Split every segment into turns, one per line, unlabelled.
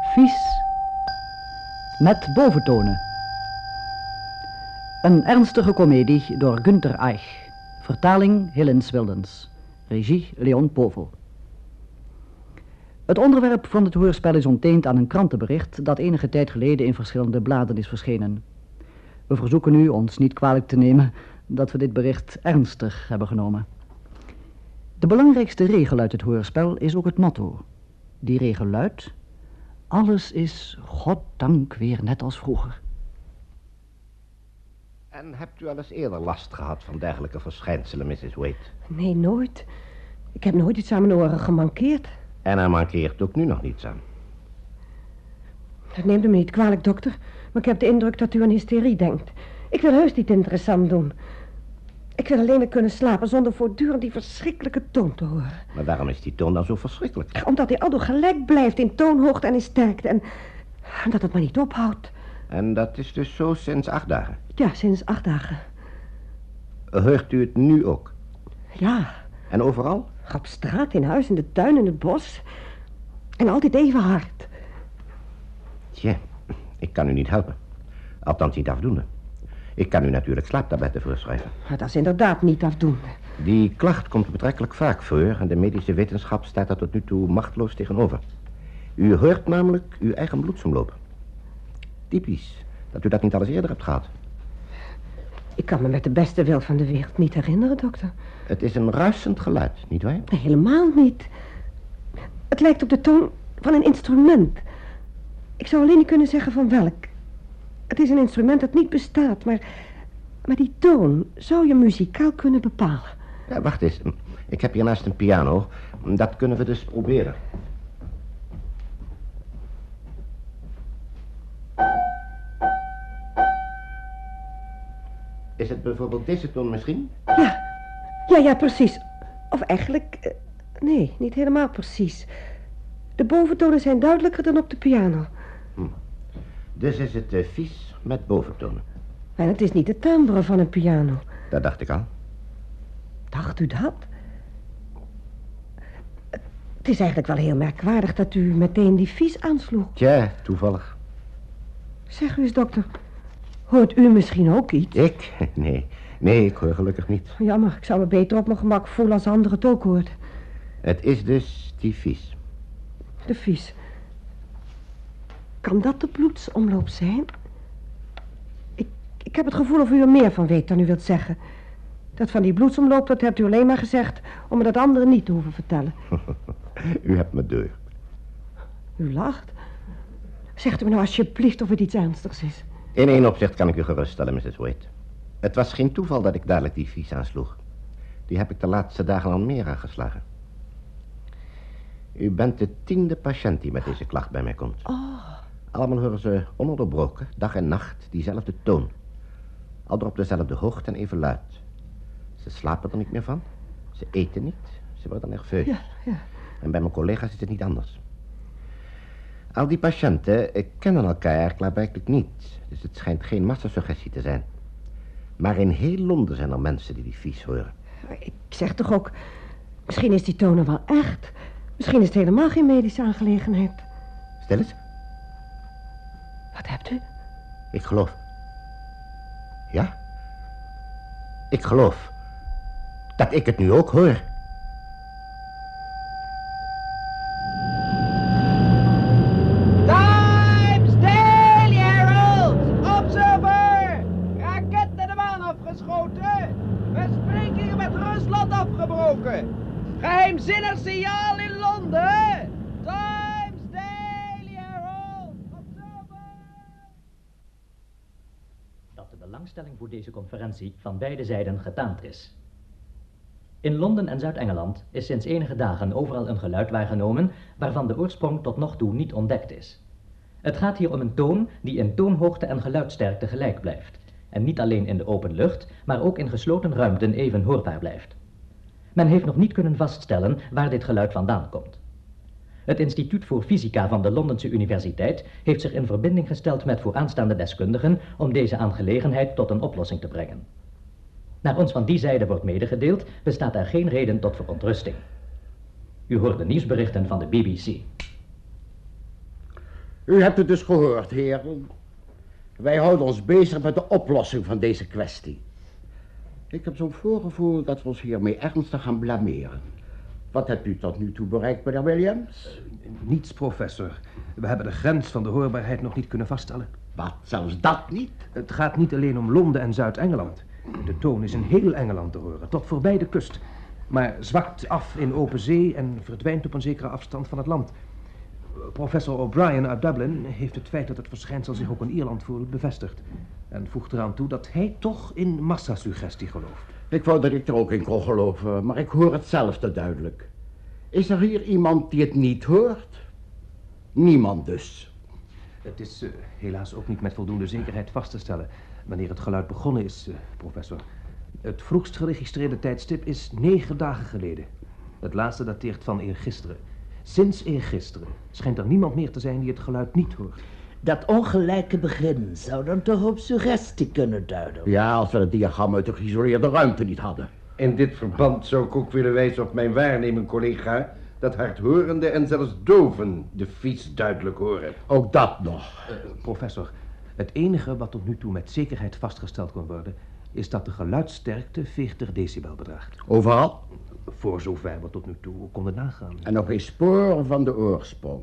vies. Met boventonen. Een ernstige komedie door Günter Eich. Vertaling Helens Wildens. Regie Leon Povel. Het onderwerp van het hoorspel is onteend aan een krantenbericht dat enige tijd geleden in verschillende bladen is verschenen. We verzoeken u ons niet kwalijk te nemen dat we dit bericht ernstig hebben genomen. De belangrijkste regel uit het hoorspel is ook het motto. Die regel luidt: Alles is goddank weer net als vroeger.
En hebt u al eens eerder last gehad van dergelijke verschijnselen, Mrs. Wade?
Nee, nooit. Ik heb nooit iets aan mijn oren gemankeerd.
En er mankeert ook nu nog niets aan.
Dat neemt u me niet kwalijk, dokter. Maar ik heb de indruk dat u aan hysterie denkt. Ik wil heus niet interessant doen. Ik wil alleen maar kunnen slapen zonder voortdurend die verschrikkelijke toon te horen.
Maar waarom is die toon dan zo verschrikkelijk?
Omdat hij aldoor gelijk blijft in toonhoogte en in sterkte. En, en dat het maar niet ophoudt.
En dat is dus zo sinds acht dagen.
Ja, sinds acht dagen.
Hoort u het nu ook?
Ja,
En overal?
op straat, in huis, in de tuin, in het bos. En altijd even hard.
Tje, ik kan u niet helpen. Althans niet afdoende. Ik kan u natuurlijk slaaptabletten voorschrijven.
Maar dat is inderdaad niet afdoende.
Die klacht komt betrekkelijk vaak voor en de medische wetenschap staat daar tot nu toe machteloos tegenover. U hoort namelijk uw eigen bloedsomloop. Typisch dat u dat niet al eens eerder hebt gehad.
Ik kan me met de beste wil van de wereld niet herinneren, dokter.
Het is een ruisend geluid, nietwaar?
Nee, Helemaal niet. Het lijkt op de toon van een instrument. Ik zou alleen niet kunnen zeggen van welk. Het is een instrument dat niet bestaat, maar, maar die toon zou je muzikaal kunnen bepalen.
Ja, wacht eens. Ik heb hier naast een piano. Dat kunnen we dus proberen. Is het bijvoorbeeld deze toon misschien?
Ja, ja, ja, precies. Of eigenlijk, eh, nee, niet helemaal precies. De boventonen zijn duidelijker dan op de piano.
Dus is het eh, vies met boventonen.
En het is niet de timbre van een piano.
Dat dacht ik al.
Dacht u dat? Het is eigenlijk wel heel merkwaardig dat u meteen die vies aansloeg.
Tja, toevallig.
Zeg u eens, dokter. Hoort u misschien ook iets?
Ik? Nee. Nee, ik hoor gelukkig niet.
Jammer, ik zou me beter op mijn gemak voelen als anderen het ook hoort.
Het is dus die vies.
De vies. Kan dat de bloedsomloop zijn? Ik, ik heb het gevoel of u er meer van weet dan u wilt zeggen. Dat van die bloedsomloop, dat hebt u alleen maar gezegd om me dat anderen niet te hoeven vertellen.
U hebt me deur.
U lacht. Zegt u me nou alsjeblieft of het iets ernstigs is.
In één opzicht kan ik u geruststellen, Mrs. Wade. Het was geen toeval dat ik dadelijk die vies aansloeg. Die heb ik de laatste dagen al meer aangeslagen. U bent de tiende patiënt die met deze klacht bij mij komt.
Oh.
Allemaal horen ze ononderbroken, dag en nacht, diezelfde toon. Aldoor op dezelfde hoogte en even luid. Ze slapen er niet meer van. Ze eten niet. Ze worden nerveus.
Ja, ja.
En bij mijn collega's is het niet anders. Al die patiënten eh, kennen elkaar klaarblijkelijk niet. Dus het schijnt geen massasuggestie te zijn. Maar in heel Londen zijn er mensen die die vies horen.
Ik zeg toch ook, misschien is die tonen wel echt. Misschien is het helemaal geen medische aangelegenheid.
Stel eens.
Wat hebt u?
Ik geloof. Ja? Ik geloof. Dat ik het nu ook hoor.
Times Daily Herald! Observer! Raket naar de maan afgeschoten! Besprekingen met Rusland afgebroken! Geheimzinnig signaal in Londen! Times Daily Herald! Observer!
dat de belangstelling voor deze conferentie van beide zijden getaand is. In Londen en Zuid-Engeland is sinds enige dagen overal een geluid waargenomen waarvan de oorsprong tot nog toe niet ontdekt is. Het gaat hier om een toon die in toonhoogte en geluidsterkte gelijk blijft en niet alleen in de open lucht, maar ook in gesloten ruimten even hoorbaar blijft. Men heeft nog niet kunnen vaststellen waar dit geluid vandaan komt. Het Instituut voor Fysica van de Londense Universiteit heeft zich in verbinding gesteld met vooraanstaande deskundigen om deze aangelegenheid tot een oplossing te brengen. Naar ons van die zijde wordt medegedeeld, bestaat er geen reden tot verontrusting. U hoort de nieuwsberichten van de BBC.
U hebt het dus gehoord, heren. Wij houden ons bezig met de oplossing van deze kwestie. Ik heb zo'n voorgevoel dat we ons hiermee ernstig gaan blameren. Wat hebt u tot nu toe bereikt, meneer Williams?
Eh,
Niets, professor. We hebben de grens van de hoorbaarheid nog niet kunnen vaststellen.
Wat, zelfs dat niet?
Het gaat niet alleen om Londen en Zuid-Engeland. De toon is in heel Engeland te horen, tot voorbij de kust. Maar zwakt af in open zee en verdwijnt op een zekere afstand van het land. Professor O'Brien uit Dublin heeft het feit dat het verschijnsel zich ook in Ierland voelt bevestigd. En voegt eraan toe dat hij toch in massasuggestie gelooft.
Ik wou dat ik er ook in kon geloven, maar ik hoor hetzelfde duidelijk. Is er hier iemand die het niet hoort? Niemand dus.
Het is eh, helaas ook niet met voldoende zekerheid vast te stellen wanneer het geluid begonnen is, eh, professor. Het vroegst geregistreerde tijdstip is negen dagen geleden. Het laatste dateert van eergisteren. Sinds eergisteren schijnt er niemand meer te zijn die het geluid niet hoort.
Dat ongelijke begin zou dan toch op suggestie kunnen duiden.
Ja, als we het diagram uit de geïsoleerde ruimte niet hadden.
In dit verband zou ik ook willen wijzen op mijn waarnemend collega... dat hardhorende en zelfs doven de fiets duidelijk horen.
Ook dat nog.
Professor, het enige wat tot nu toe met zekerheid vastgesteld kon worden, is dat de geluidssterkte 40 decibel bedraagt.
Overal?
Voor zover we tot nu toe konden nagaan.
En nog geen spoor van de oorsprong.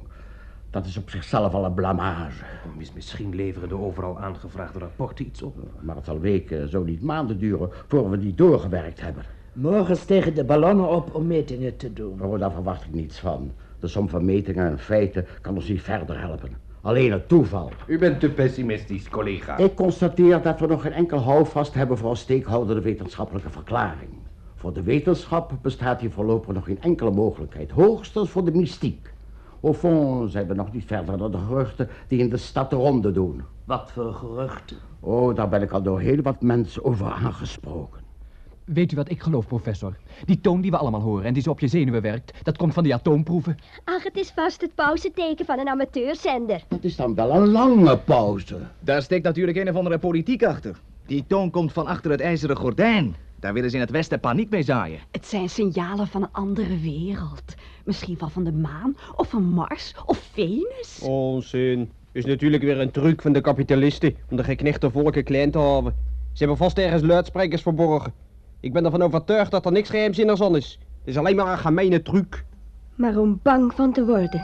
Dat is op zichzelf al een blamage.
Mis- Misschien leveren de overal aangevraagde rapporten iets op.
Maar het zal weken, zo niet maanden duren, voor we die doorgewerkt hebben.
Morgen stegen de ballonnen op om metingen te doen.
Oh, daar verwacht ik niets van. De som van metingen en feiten kan ons niet verder helpen. Alleen het toeval.
U bent te pessimistisch, collega.
Ik constateer dat we nog geen enkel houvast hebben voor een steekhoudende wetenschappelijke verklaring. Voor de wetenschap bestaat hier voorlopig nog geen enkele mogelijkheid. Hoogstens voor de mystiek. Au fond zijn we nog niet verder dan de geruchten die in de stad de ronde doen.
Wat voor geruchten.
Oh, daar ben ik al door heel wat mensen over aangesproken.
Weet u wat ik geloof, professor? Die toon die we allemaal horen en die zo op je zenuwen werkt, dat komt van die atoomproeven.
Ach, het is vast het pauzeteken van een amateurzender.
Dat is dan wel een lange pauze.
Daar steekt natuurlijk een of andere politiek achter. Die toon komt van achter het ijzeren gordijn. Daar willen ze in het Westen paniek mee zaaien.
Het zijn signalen van een andere wereld. Misschien wel van de maan, of van Mars, of Venus.
Onzin. Is natuurlijk weer een truc van de kapitalisten om de geknechte volken klein te houden. Ze hebben vast ergens luidsprekers verborgen. Ik ben ervan overtuigd dat er niks geheimzinnigs aan is. Het is alleen maar een gemeene truc.
Maar om bang van te worden.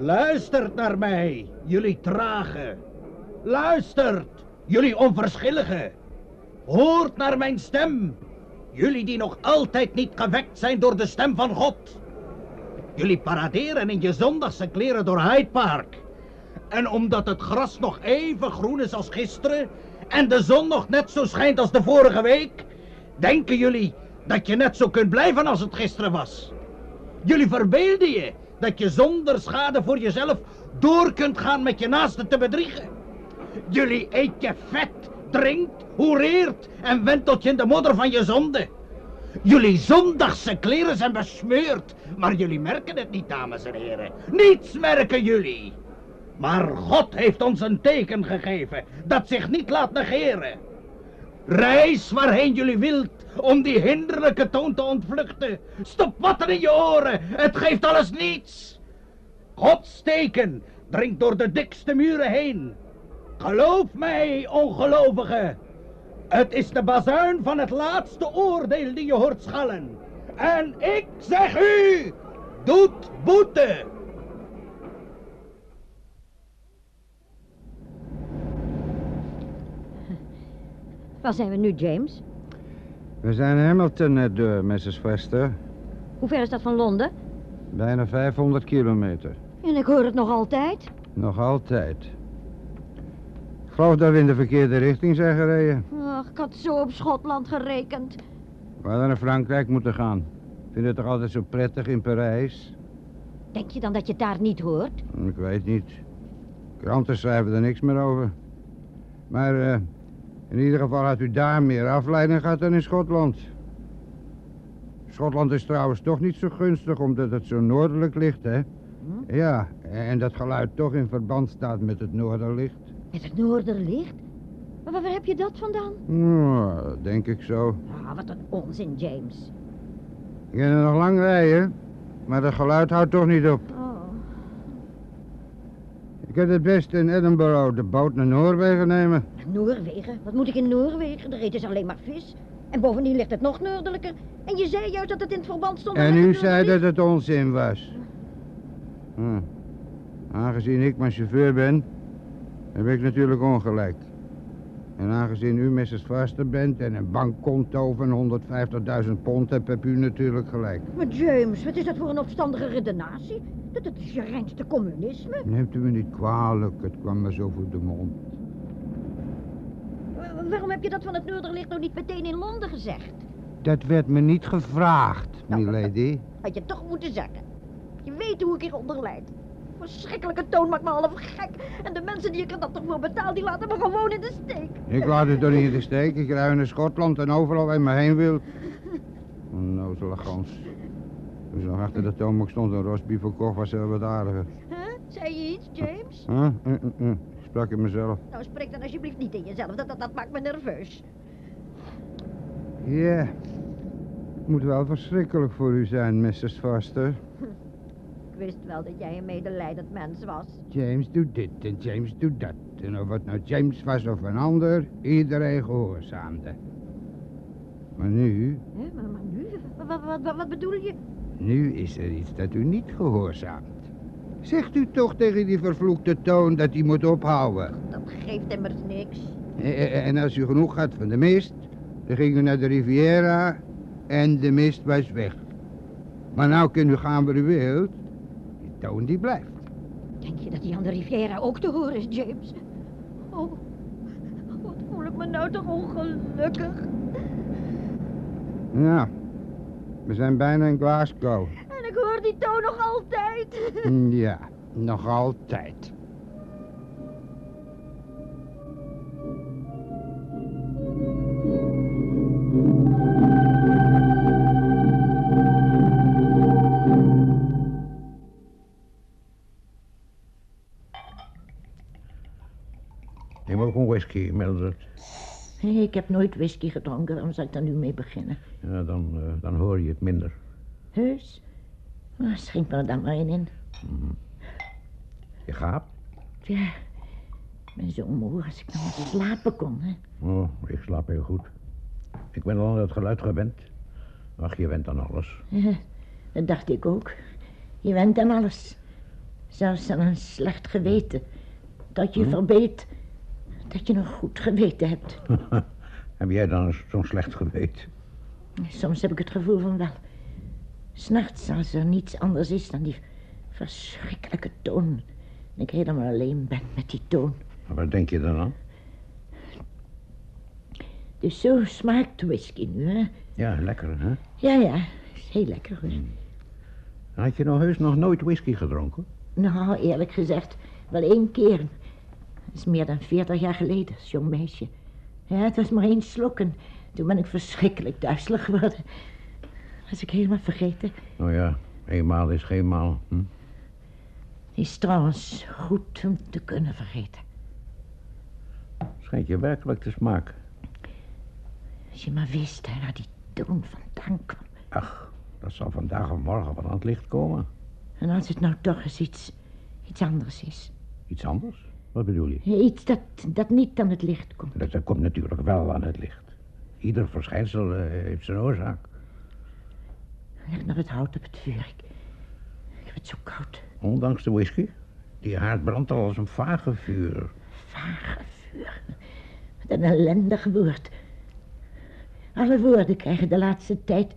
Luistert naar mij, jullie tragen. Luistert, jullie onverschilligen. Hoort naar mijn stem. Jullie die nog altijd niet gewekt zijn door de stem van God. Jullie paraderen in je zondagse kleren door Hyde Park. En omdat het gras nog even groen is als gisteren en de zon nog net zo schijnt als de vorige week, denken jullie dat je net zo kunt blijven als het gisteren was. Jullie verbeelden je dat je zonder schade voor jezelf door kunt gaan met je naasten te bedriegen. Jullie eet je vet, drinkt, hoereert en wentelt je in de modder van je zonde. Jullie zondagse kleren zijn besmeurd, maar jullie merken het niet, dames en heren. Niets merken jullie. Maar God heeft ons een teken gegeven dat zich niet laat negeren. Reis waarheen jullie wilt om die hinderlijke toon te ontvluchten. Stop watten in je oren, het geeft alles niets. Gods teken dringt door de dikste muren heen. Geloof mij, ongelovige. Het is de bazuin van het laatste oordeel die je hoort schallen. En ik zeg u, doet boete.
Waar zijn we nu, James?
We zijn Hamilton net door, Mrs. Foster.
Hoe ver is dat van Londen?
Bijna 500 kilometer.
En ik hoor het nog altijd.
Nog altijd. Ik geloof dat we in de verkeerde richting zijn gereden.
Ach, ik had zo op Schotland gerekend.
We hadden naar Frankrijk moeten gaan. Ik vind het toch altijd zo prettig in Parijs?
Denk je dan dat je het daar niet hoort?
Hm, Ik weet niet. Kranten schrijven er niks meer over. Maar eh, in ieder geval had u daar meer afleiding gehad dan in Schotland. Schotland is trouwens toch niet zo gunstig omdat het zo noordelijk ligt, hè? Ja, en dat geluid toch in verband staat met het noorderlicht.
Met het noorderlicht?
Maar waar heb je dat vandaan?
Nou, denk ik zo.
Ah, wat een onzin, James.
Ik kan er nog lang rijden, maar dat geluid houdt toch niet op.
Oh.
Ik heb het best in Edinburgh de boot naar Noorwegen nemen.
Noorwegen? Wat moet ik in Noorwegen? Er eten ze alleen maar vis. En bovendien ligt het nog noordelijker. En je zei juist dat het in het verband stond...
En
met
u
het
zei
noordelijke-
dat het onzin was. Hm. Aangezien ik mijn chauffeur ben, heb ik natuurlijk ongelijk. En aangezien u Mrs. Vaster bent en een bankkonto van 150.000 pond hebt, heb u natuurlijk gelijk.
Maar James, wat is dat voor een opstandige redenatie? Dat het is je reinste communisme.
Neemt u me niet kwalijk, het kwam me zo voor de mond.
Wa- Waarom heb je dat van het Noorderlicht nog niet meteen in Londen gezegd?
Dat werd me niet gevraagd, milady.
Had je toch moeten zeggen. Je weet hoe ik hieronder lijd. Verschrikkelijke toon maakt me half gek. En de mensen die ik er dat toch voor betaal, die laten me gewoon in de steek.
Ik laat het er niet in de steek. Ik rij naar Schotland en overal waar je maar heen wil. Onnozele gans. Toen ze nog achter de toonbank stond en rosbief verkocht, was ze wat aardiger.
Huh? Zei je iets, James?
Huh? Eh, eh, eh. Ik sprak in mezelf.
Nou, spreek dan alsjeblieft niet in jezelf. Dat, dat, dat maakt me nerveus.
Ja. Het moet wel verschrikkelijk voor u zijn, Mrs. Foster.
Ik wist wel dat jij een medelijdend mens was.
James doet dit en James doet dat. En of het nou James was of een ander, iedereen gehoorzaamde. Maar nu,
Hè? Maar, maar nu? Wat, wat, wat, wat bedoel je?
nu is er iets dat u niet gehoorzaamt. Zegt u toch tegen die vervloekte toon dat hij moet ophouden.
Dat geeft immers niks.
E- e- En als u genoeg had van de mist, dan ging u naar de Riviera en de mist was weg. Maar nou kunt u gaan waar u wilt. Die toon die blijft.
Denk je dat die aan de Riviera ook te horen is, James? Oh, wat voel ik me nou toch ongelukkig.
Ja, we zijn bijna in Glasgow.
En ik hoor die toon nog altijd.
Hm, Ja, nog altijd.
Neem ook een whisky, Mildred.
Hey,
ik heb nooit whisky gedronken, waarom zou ik daar nu mee beginnen?
Ja, dan, eh, dan hoor je het minder.
Heus? Ah, schenk me er dan maar een in.
Je gaapt?
Ja, ik ben zo moe als ik nog maar slapen kon, hè.
Oh, ik slaap heel goed. Ik ben al aan het geluid gewend. Ach, je went aan alles.
Ja, dat dacht ik ook. Je went aan alles. Zelfs aan een slecht geweten. Dat je
Hm?
verbeet. Dat je een goed geweten hebt.
Heb jij dan zo'n slecht geweten?
Soms heb ik het gevoel van wel. S'nachts, als er niets anders is dan die verschrikkelijke toon. En ik helemaal alleen ben met die toon.
Maar Wat denk je dan aan?
Dus zo smaakt whisky nu, hè?
Ja, lekker, hè?
Ja, ja. Is heel lekker, hoor.
Had je nou heus nog nooit whisky gedronken?
Nou, eerlijk gezegd, wel één keer. Dat is meer dan veertig jaar geleden, als jong meisje. Ja, het was maar één slok en toen ben ik verschrikkelijk duizelig geworden. Was ik helemaal vergeten.
Nou ja, eenmaal is geen maal. Hm?
Is trouwens goed om te kunnen vergeten.
Schijnt je werkelijk te smaak.
Als je maar wist hè, waar die toon vandaan kwam.
Ach, dat zal vandaag of morgen wel aan het licht komen.
En als het nou toch eens iets, iets anders is.
Iets anders? Wat bedoel je?
Iets dat, dat niet aan het licht komt.
Dat, dat komt natuurlijk wel aan het licht. Ieder verschijnsel eh, heeft zijn oorzaak.
Leg nog het hout op het vuur. Ik, ik heb het zo koud.
Ondanks de whisky. Die haard brandt al als een vage vuur.
Vage vuur. Wat een ellendig woord. Alle woorden krijgen de laatste tijd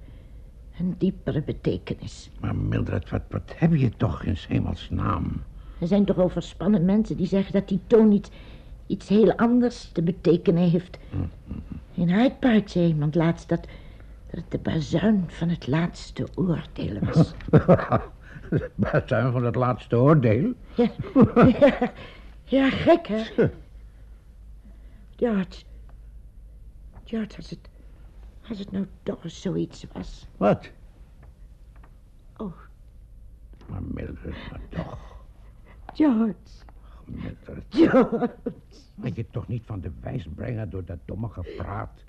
een diepere betekenis.
Maar Mildred, wat, wat heb je toch in 's hemelsnaam?
Er zijn toch overspannen mensen die zeggen dat die toon iets, iets heel anders te betekenen heeft. In Hyde Park zei iemand laatst dat, dat het de bazuin van het laatste oordelen was.
De Bastuin van het laatste oordeel.
Ja, ja, ja, gek hè? George. George, als het, als het nou toch eens zoiets was.
Wat?
Oh,
Maar Mildred, maar toch.
George.
Och, metter.
George.
Ben je toch niet van de wijs brengen door dat domme gepraat?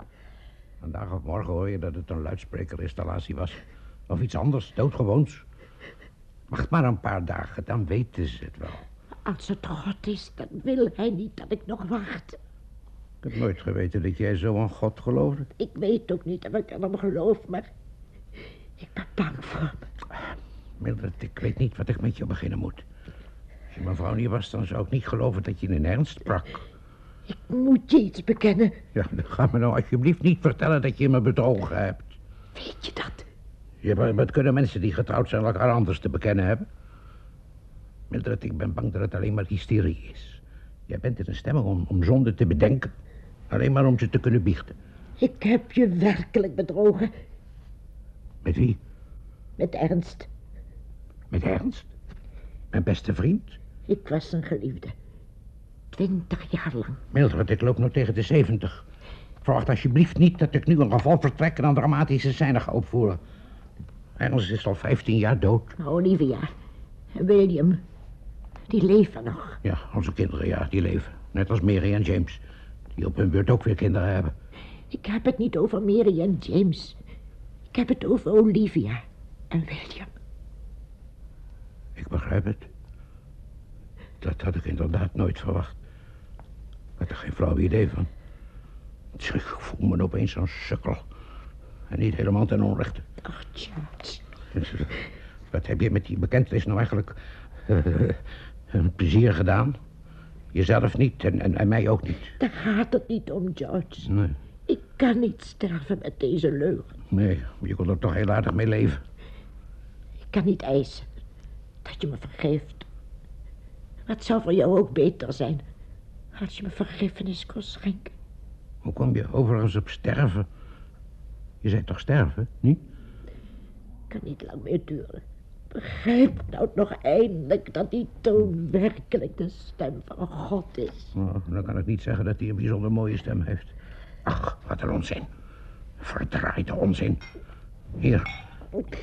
Vandaag of morgen hoor je dat het een luidsprekerinstallatie was. Of iets anders, doodgewoons. Wacht maar een paar dagen, dan weten ze het wel.
Als het God is, dan wil hij niet dat ik nog wacht.
Ik heb nooit geweten dat jij zo aan God geloofde.
Ik weet ook niet of ik aan hem geloof, maar ik ben bang voor hem.
Mildred, ik weet niet wat ik met je beginnen moet. Als je mijn vrouw niet was, dan zou ik niet geloven dat je in ernst sprak.
Moet je iets bekennen?
Ja, dan ga me nou alsjeblieft niet vertellen dat je me bedrogen hebt.
Weet je dat?
Ja, maar wat kunnen mensen die getrouwd zijn elkaar anders te bekennen hebben? Mildred, ik ben bang dat het alleen maar hysterie is. Jij bent in een stemming om, om zonde te bedenken. Alleen maar om ze te kunnen biechten.
Ik heb je werkelijk bedrogen.
Met wie?
Met ernst.
Met Ernst? Mijn beste vriend?
Ik was een geliefde. Twintig jaar lang.
Mildred, ik loop nog tegen de zeventig. Verwacht alsjeblieft niet dat ik nu een geval vertrek en een dramatische scène ga opvoeren. Ernst is al vijftien jaar dood.
Olivia. Nou, William. Die leven nog.
Ja, onze kinderen, ja, die leven. Net als Mary en James. Die op hun beurt ook weer kinderen hebben.
Ik heb het niet over Mary en James. Ik heb het over Olivia en William.
Ik begrijp het. Dat had ik inderdaad nooit verwacht. Ik had er geen flauw idee van. Tja, Ik voel me opeens een sukkel. En niet helemaal ten onrechte.
Ach, George.
Wat heb je met die bekentenis nou eigenlijk eh, een plezier gedaan? Jezelf niet en, en, en mij ook niet.
Daar gaat het niet om, George.
Nee.
Ik kan niet sterven met deze leugen.
Nee, je kon er toch heel aardig mee leven.
Ik kan niet eisen dat je me vergeeft. Maar het zou voor jou ook beter zijn als je me vergiffenis kon schenken.
Hoe kom je overigens op sterven? Je zei toch sterven, niet?
Het kan niet lang meer duren. Begrijp nou nog eindelijk dat die toon werkelijk de stem van God is.
Nou, dan kan ik niet zeggen dat hij een bijzonder mooie stem heeft. Ach, wat een onzin. Verdraaide onzin. Hier,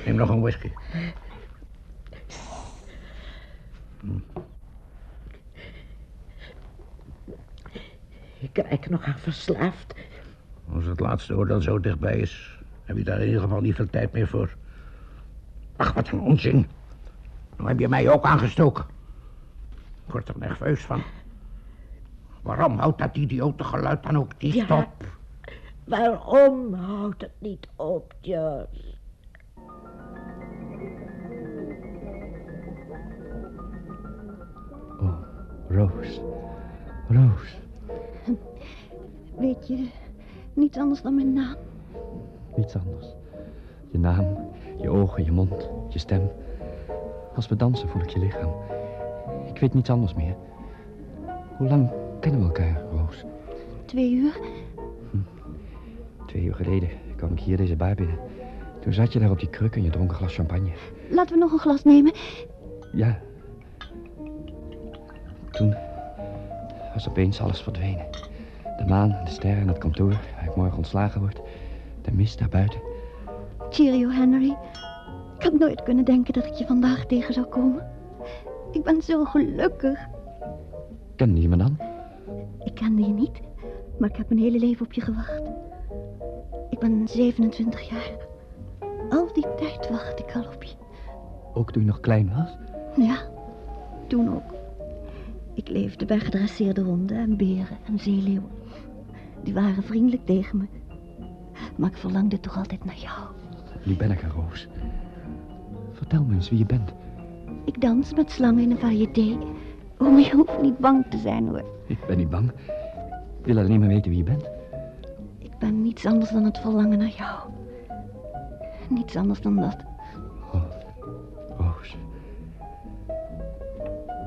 neem nog een whisky.
Ik raak nog aan verslaafd.
Als het laatste oordeel zo dichtbij is, heb je daar in ieder geval niet veel tijd meer voor. Ach, wat een onzin. Nou heb je mij ook aangestoken. Ik word er nerveus van. Waarom houdt dat idiote geluid dan ook niet
Ja.
op?
Waarom houdt het niet op, George?
Oh, Roos. Roos.
Weet je niets anders dan mijn naam?
Niets anders. Je naam, je ogen, je mond, je stem. Als we dansen voel ik je lichaam. Ik weet niets anders meer. Hoe lang kennen we elkaar, Roos?
Twee uur?
Twee uur geleden kwam ik hier deze bar binnen. Toen zat je daar op die kruk en je dronk een glas champagne.
Laten we nog een glas nemen.
Ja. Toen was opeens alles verdwenen. De maan, en de sterren en het kantoor waar ik morgen ontslagen word. De mist daarbuiten.
Cheerio, Henry. Ik had nooit kunnen denken dat ik je vandaag tegen zou komen. Ik ben zo gelukkig.
Kende je me dan?
Ik kende je niet, maar ik heb mijn hele leven op je gewacht. Ik ben 27 jaar. Al die tijd wacht ik al op je.
Ook toen je nog klein was?
Ja, toen ook. Ik leefde bij gedresseerde honden en beren en zeeleeuwen. Die waren vriendelijk tegen me. Maar ik verlangde toch altijd naar jou.
Nu ben ik er, Roos. Vertel me eens wie je bent.
Ik dans met slangen in een variété. Oom, je hoeft niet bang te zijn hoor.
Ik ben niet bang. Ik wil alleen maar weten wie je bent.
Ik ben niets anders dan het verlangen naar jou. Niets anders dan dat.
Roos.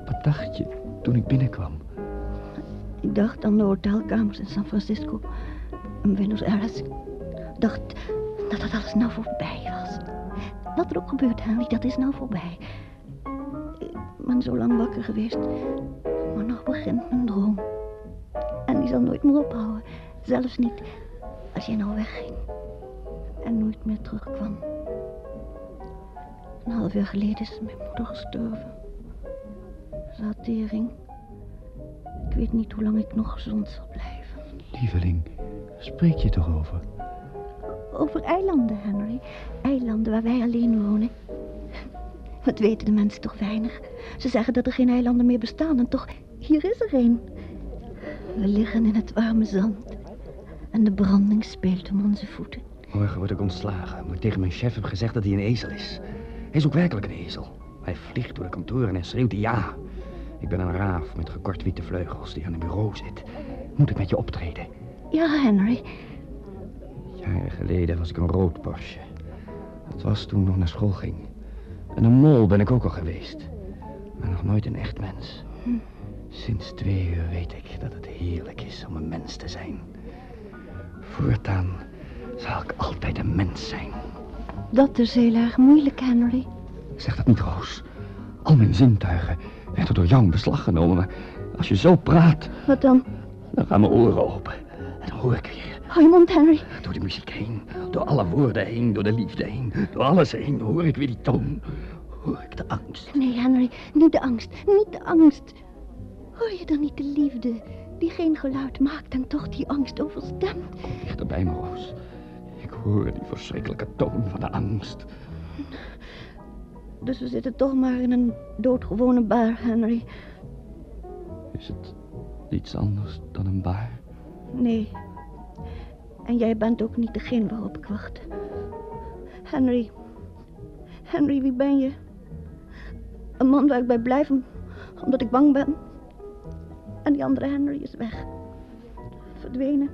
Wat dacht je toen ik binnenkwam?
Ik dacht aan de hotelkamers in San Francisco en Buenos Aires. Ik dacht dat dat alles nou voorbij was. Wat er ook gebeurt, Henry, dat is nou voorbij. Ik ben zo lang wakker geweest, maar nog begint mijn droom. En die zal nooit meer ophouden, zelfs niet als jij nou wegging en nooit meer terugkwam. Een half uur geleden is mijn moeder gestorven. Ze had tering. Ik weet niet hoe lang ik nog gezond zal blijven.
Lieveling, spreek je toch over?
Over eilanden, Henry. Eilanden waar wij alleen wonen. Wat weten de mensen toch weinig? Ze zeggen dat er geen eilanden meer bestaan en toch, hier is er een. We liggen in het warme zand. En de branding speelt om onze voeten.
Morgen word ik ontslagen, omdat ik tegen mijn chef heb gezegd dat hij een ezel is. Hij is ook werkelijk een ezel. Hij vliegt door de kantoren en schreeuwt ja. Ik ben een raaf met gekort witte vleugels die aan een bureau zit. Moet ik met je optreden?
Ja, Henry.
Jaren geleden was ik een rood Porsche. Dat was toen ik nog naar school ging. En een mol ben ik ook al geweest. Maar nog nooit een echt mens.
Hm.
Sinds twee uur weet ik dat het heerlijk is om een mens te zijn. Voortaan zal ik altijd een mens zijn.
Dat is heel erg moeilijk, Henry.
Zeg dat niet, Roos. Al mijn zintuigen werden door jou in beslag genomen. Maar als je zo praat,
Wat dan?
dan gaan mijn oren open. En dan hoor ik weer
Hou je mond, Henry.
door de muziek heen, door alle woorden heen, door de liefde heen, door alles heen hoor ik weer die toon. Hoor ik de angst.
Nee, Henry, niet de angst, niet de angst. Hoor je dan niet de liefde die geen geluid maakt en toch die angst overstemt?
Dichterbij me, Roos. Ik hoor die verschrikkelijke toon van de angst.
Dus we zitten toch maar in een doodgewone bar, Henry.
Is het iets anders dan een baar?
Nee. En jij bent ook niet degene waarop ik wacht. Henry. Henry, wie ben je? Een man waar ik bij blijf om- omdat ik bang ben. En die andere Henry is weg. Verdwenen.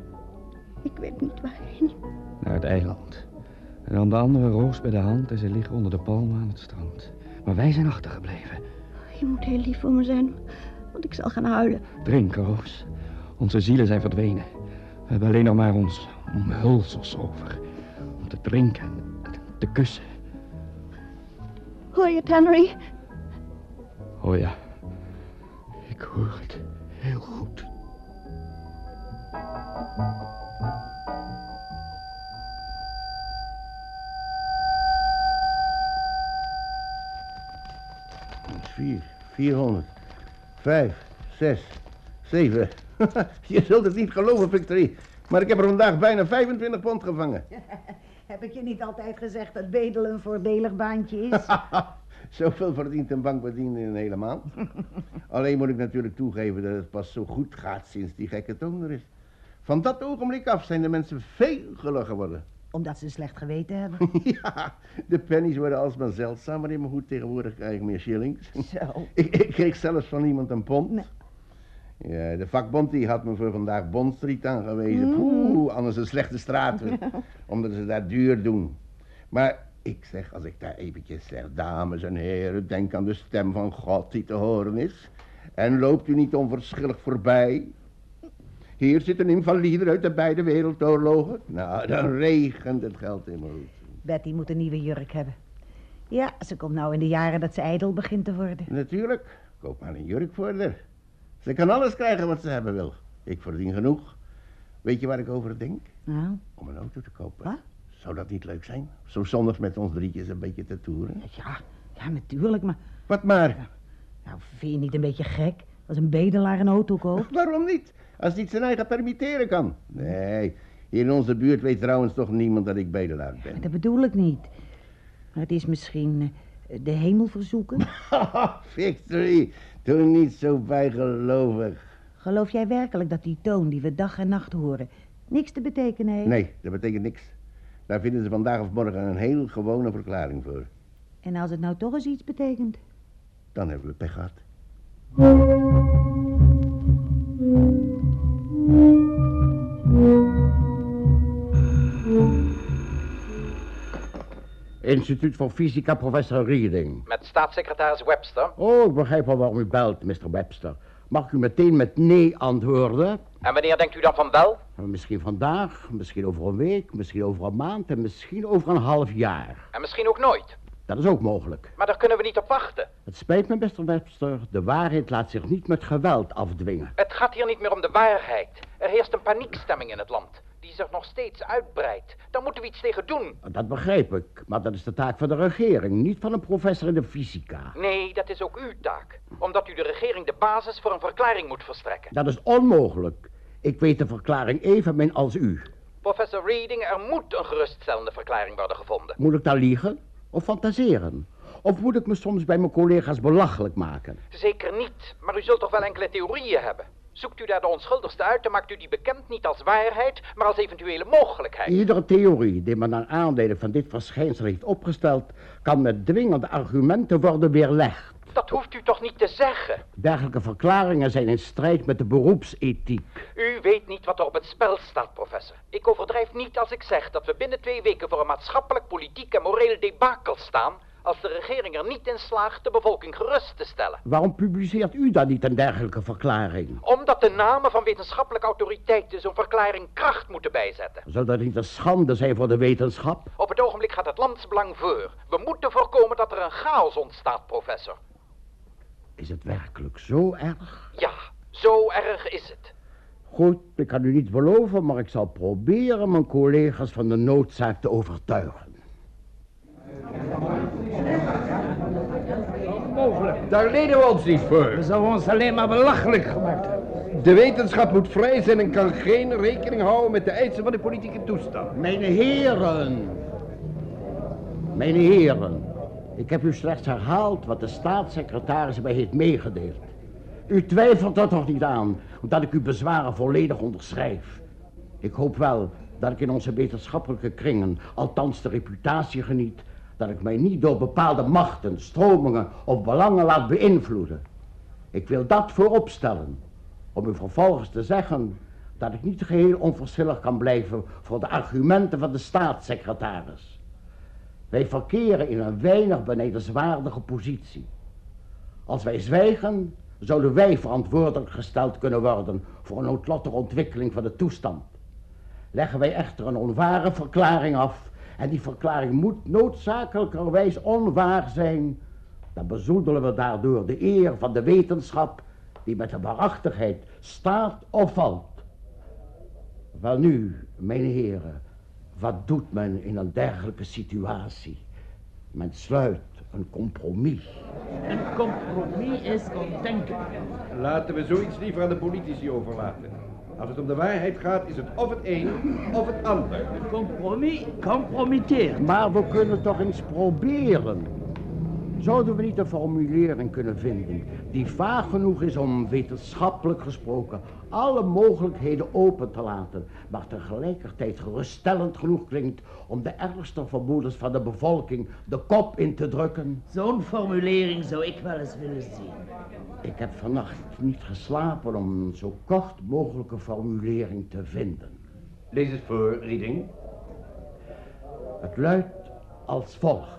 Ik weet niet waarheen.
Naar het eiland. En dan de andere Roos bij de hand en ze liggen onder de palmen aan het strand. Maar wij zijn achtergebleven.
Je moet heel lief voor me zijn, want ik zal gaan huilen.
Drink, Roos. Onze zielen zijn verdwenen. We hebben alleen nog maar ons omhulsels over. Om te drinken en te kussen.
Hoor je het, Henry?
Oh ja, ik hoor het heel goed.
Vier, 400, vijf, zes, zeven. Je zult het niet geloven, Victory. Maar ik heb er vandaag bijna 25 pond gevangen.
Heb ik je niet altijd gezegd dat bedelen een voordelig baantje is?
Zoveel verdient een bankbediende in een hele maand. Alleen moet ik natuurlijk toegeven dat het pas zo goed gaat sinds die gekke toon er is. Van dat ogenblik af zijn de mensen veel gelukkiger geworden.
Omdat ze slecht geweten hebben.
ja, de pennies worden alsmaar zeldzamer in mijn hoed. Tegenwoordig krijg ik meer shillings.
Zo.
ik, ik kreeg zelfs van iemand een pond. Ja, de vakbond die had me voor vandaag Bond Street aangewezen.
Mm.
Oeh, anders een slechte straat. hoor. Omdat ze daar duur doen. Maar ik zeg, als ik daar eventjes zeg, dames en heren, denk aan de stem van God die te horen is. En loopt u niet onverschillig voorbij. Hier zit een invalide uit de beide wereldoorlogen. Nou, dan regent het geld in mijn hoed.
Betty moet een nieuwe jurk hebben. Ja, ze komt nou in de jaren dat ze ijdel begint te worden.
Natuurlijk, koop maar een jurk voor haar. Ze kan alles krijgen wat ze hebben wil. Ik verdien genoeg. Weet je waar ik over denk?
Nou,
Om een auto te kopen. Zou dat niet leuk zijn? Zo zondags met ons drietjes een beetje te toeren.
Ja, ja, natuurlijk, maar...
Wat maar?
Nou, vind je niet een beetje gek? Als een bedelaar een auto koopt?
Waarom niet? Als niet zijn eigen permitteren kan. Nee, hier in onze buurt weet trouwens toch niemand dat ik bedelaar ben.
Dat bedoel ik niet. Maar het is misschien eh, de hemel verzoeken.
Victory, doe niet zo bijgelovig.
Geloof jij werkelijk dat die toon die we dag en nacht horen... niks te betekenen heeft?
Nee, dat betekent niks. Daar vinden ze vandaag of morgen een heel gewone verklaring voor.
En als het nou toch eens iets betekent?
Dan hebben we pech gehad.
Instituut voor Fysica, professor Reading.
Met staatssecretaris Webster.
Oh, ik begrijp wel waarom u belt, Mr. Webster. Mag ik u meteen met nee antwoorden?
En wanneer denkt u dan van wel?
Misschien vandaag, misschien over een week, misschien over een maand en misschien over een half jaar.
En misschien ook nooit.
Dat is ook mogelijk.
Maar daar kunnen we niet op wachten.
Het spijt me, Mr. Webster. De waarheid laat zich niet met geweld afdwingen.
Het gaat hier niet meer om de waarheid. Er heerst een paniekstemming in het land. die zich nog steeds uitbreidt. Daar moeten we iets tegen doen.
Dat begrijp ik, maar dat is de taak van de regering, niet van een professor in de fysica.
Nee, dat is ook uw taak. Omdat u de regering de basis voor een verklaring moet verstrekken.
Dat is onmogelijk. Ik weet de verklaring evenmin als u.
Professor Reading, er moet een geruststellende verklaring worden gevonden.
Moet ik daar liegen of fantaseren? Of moet ik me soms bij mijn collega's belachelijk maken?
Zeker niet, maar u zult toch wel enkele theorieën hebben. Zoekt u daar de onschuldigste uit, dan maakt u die bekend niet als waarheid, maar als eventuele mogelijkheid.
Iedere theorie die men naar aanleiding van dit verschijnsel heeft opgesteld, kan met dwingende argumenten worden weerlegd.
Dat hoeft u toch niet te zeggen?
Dergelijke verklaringen zijn in strijd met de beroepsethiek.
U weet niet wat er op het spel staat, professor. Ik overdrijf niet als ik zeg dat we binnen twee weken voor een maatschappelijk, politiek en moreel debakel staan. als de regering er niet in slaagt de bevolking gerust te stellen.
Waarom publiceert u dan niet een dergelijke verklaring?
Omdat de namen van wetenschappelijke autoriteiten zo'n verklaring kracht moeten bijzetten.
Zou dat niet een schande zijn voor de wetenschap?
Op het ogenblik gaat het landsbelang voor. We moeten voorkomen dat er een chaos ontstaat, professor.
Is het werkelijk zo erg?
Ja, zo erg is het.
Goed, ik kan u niet beloven, maar ik zal proberen mijn collega's van de noodzaak te overtuigen.
Mogelijk. Daar leden we ons niet voor.
We zouden ons alleen maar belachelijk gemaakt hebben.
De wetenschap moet vrij zijn en kan geen rekening houden met de eisen van de politieke toestand.
Mijn heren. Mijn heren. Ik heb u slechts herhaald wat de staatssecretaris mij heeft meegedeeld. U twijfelt er toch niet aan, omdat ik uw bezwaren volledig onderschrijf. Ik hoop wel dat ik in onze wetenschappelijke kringen althans de reputatie geniet dat ik mij niet door bepaalde machten, stromingen of belangen laat beïnvloeden. Ik wil dat vooropstellen, om u vervolgens te zeggen dat ik niet geheel onverschillig kan blijven voor de argumenten van de staatssecretaris. Wij verkeren in een weinig benedenswaardige positie. Als wij zwijgen, zouden wij verantwoordelijk gesteld kunnen worden voor een noodlottige ontwikkeling van de toestand. Leggen wij echter een onware verklaring af, en die verklaring moet noodzakelijkerwijs onwaar zijn, dan bezoedelen we daardoor de eer van de wetenschap die met de waarachtigheid staat of valt. Wel nu, mijn heren, wat doet men in een dergelijke situatie? Men sluit een compromis.
Een compromis is ondenkbaar.
Laten we zoiets liever aan de politici overlaten. Als het om de waarheid gaat, is het of het een of het ander.
Compromis compromitteert.
Maar we kunnen toch eens proberen. Zouden we niet een formulering kunnen vinden die vaag genoeg is om wetenschappelijk gesproken alle mogelijkheden open te laten, maar tegelijkertijd geruststellend genoeg klinkt om de ergste vermoedens van de bevolking de kop in te drukken?
Zo'n formulering zou ik wel eens willen zien.
Ik heb vannacht niet geslapen om een zo kort mogelijke formulering te vinden.
Lees het voor, Reading.
Het luidt als volgt.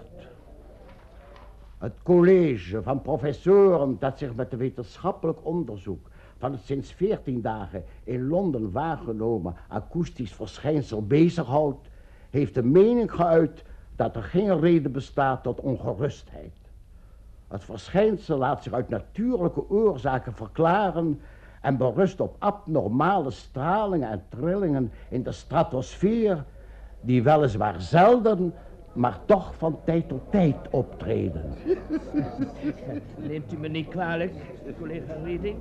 Het college van professoren dat zich met de wetenschappelijk onderzoek van het sinds 14 dagen in Londen waargenomen akoestisch verschijnsel bezighoudt, heeft de mening geuit dat er geen reden bestaat tot ongerustheid. Het verschijnsel laat zich uit natuurlijke oorzaken verklaren en berust op abnormale stralingen en trillingen in de stratosfeer, die weliswaar zelden, maar toch van tijd tot tijd optreden.
Neemt u me niet kwalijk, collega Reading,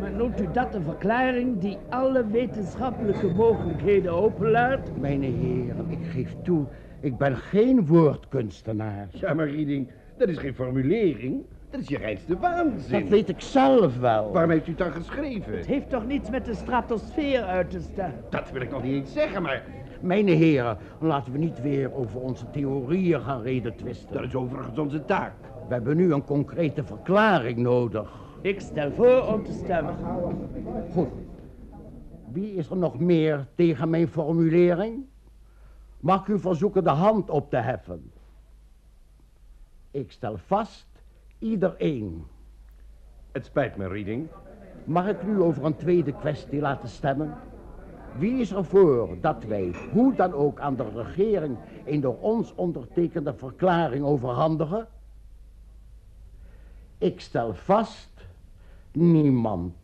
maar noemt u dat een verklaring die alle wetenschappelijke mogelijkheden openlaat?
Mijn heren, ik geef toe, ik ben geen woordkunstenaar.
Ja, maar Reading, dat is geen formulering. Dat is je reinste waanzin.
Dat weet ik zelf wel.
Waarom heeft u het dan geschreven?
Het heeft toch niets met de stratosfeer uit te staan?
Dat wil ik nog niet eens zeggen, maar...
Mijn heren, laten we niet weer over onze theorieën gaan reden twisten.
Dat is overigens onze taak.
We hebben nu een concrete verklaring nodig.
Ik stel voor om te stemmen.
Goed. Wie is er nog meer tegen mijn formulering? Mag ik u verzoeken de hand op te heffen? Ik stel vast, iedereen.
Het spijt me, Reading.
Mag ik nu over een tweede kwestie laten stemmen? Wie is er voor dat wij, hoe dan ook, aan de regering een door ons ondertekende verklaring overhandigen? Ik stel vast, niemand.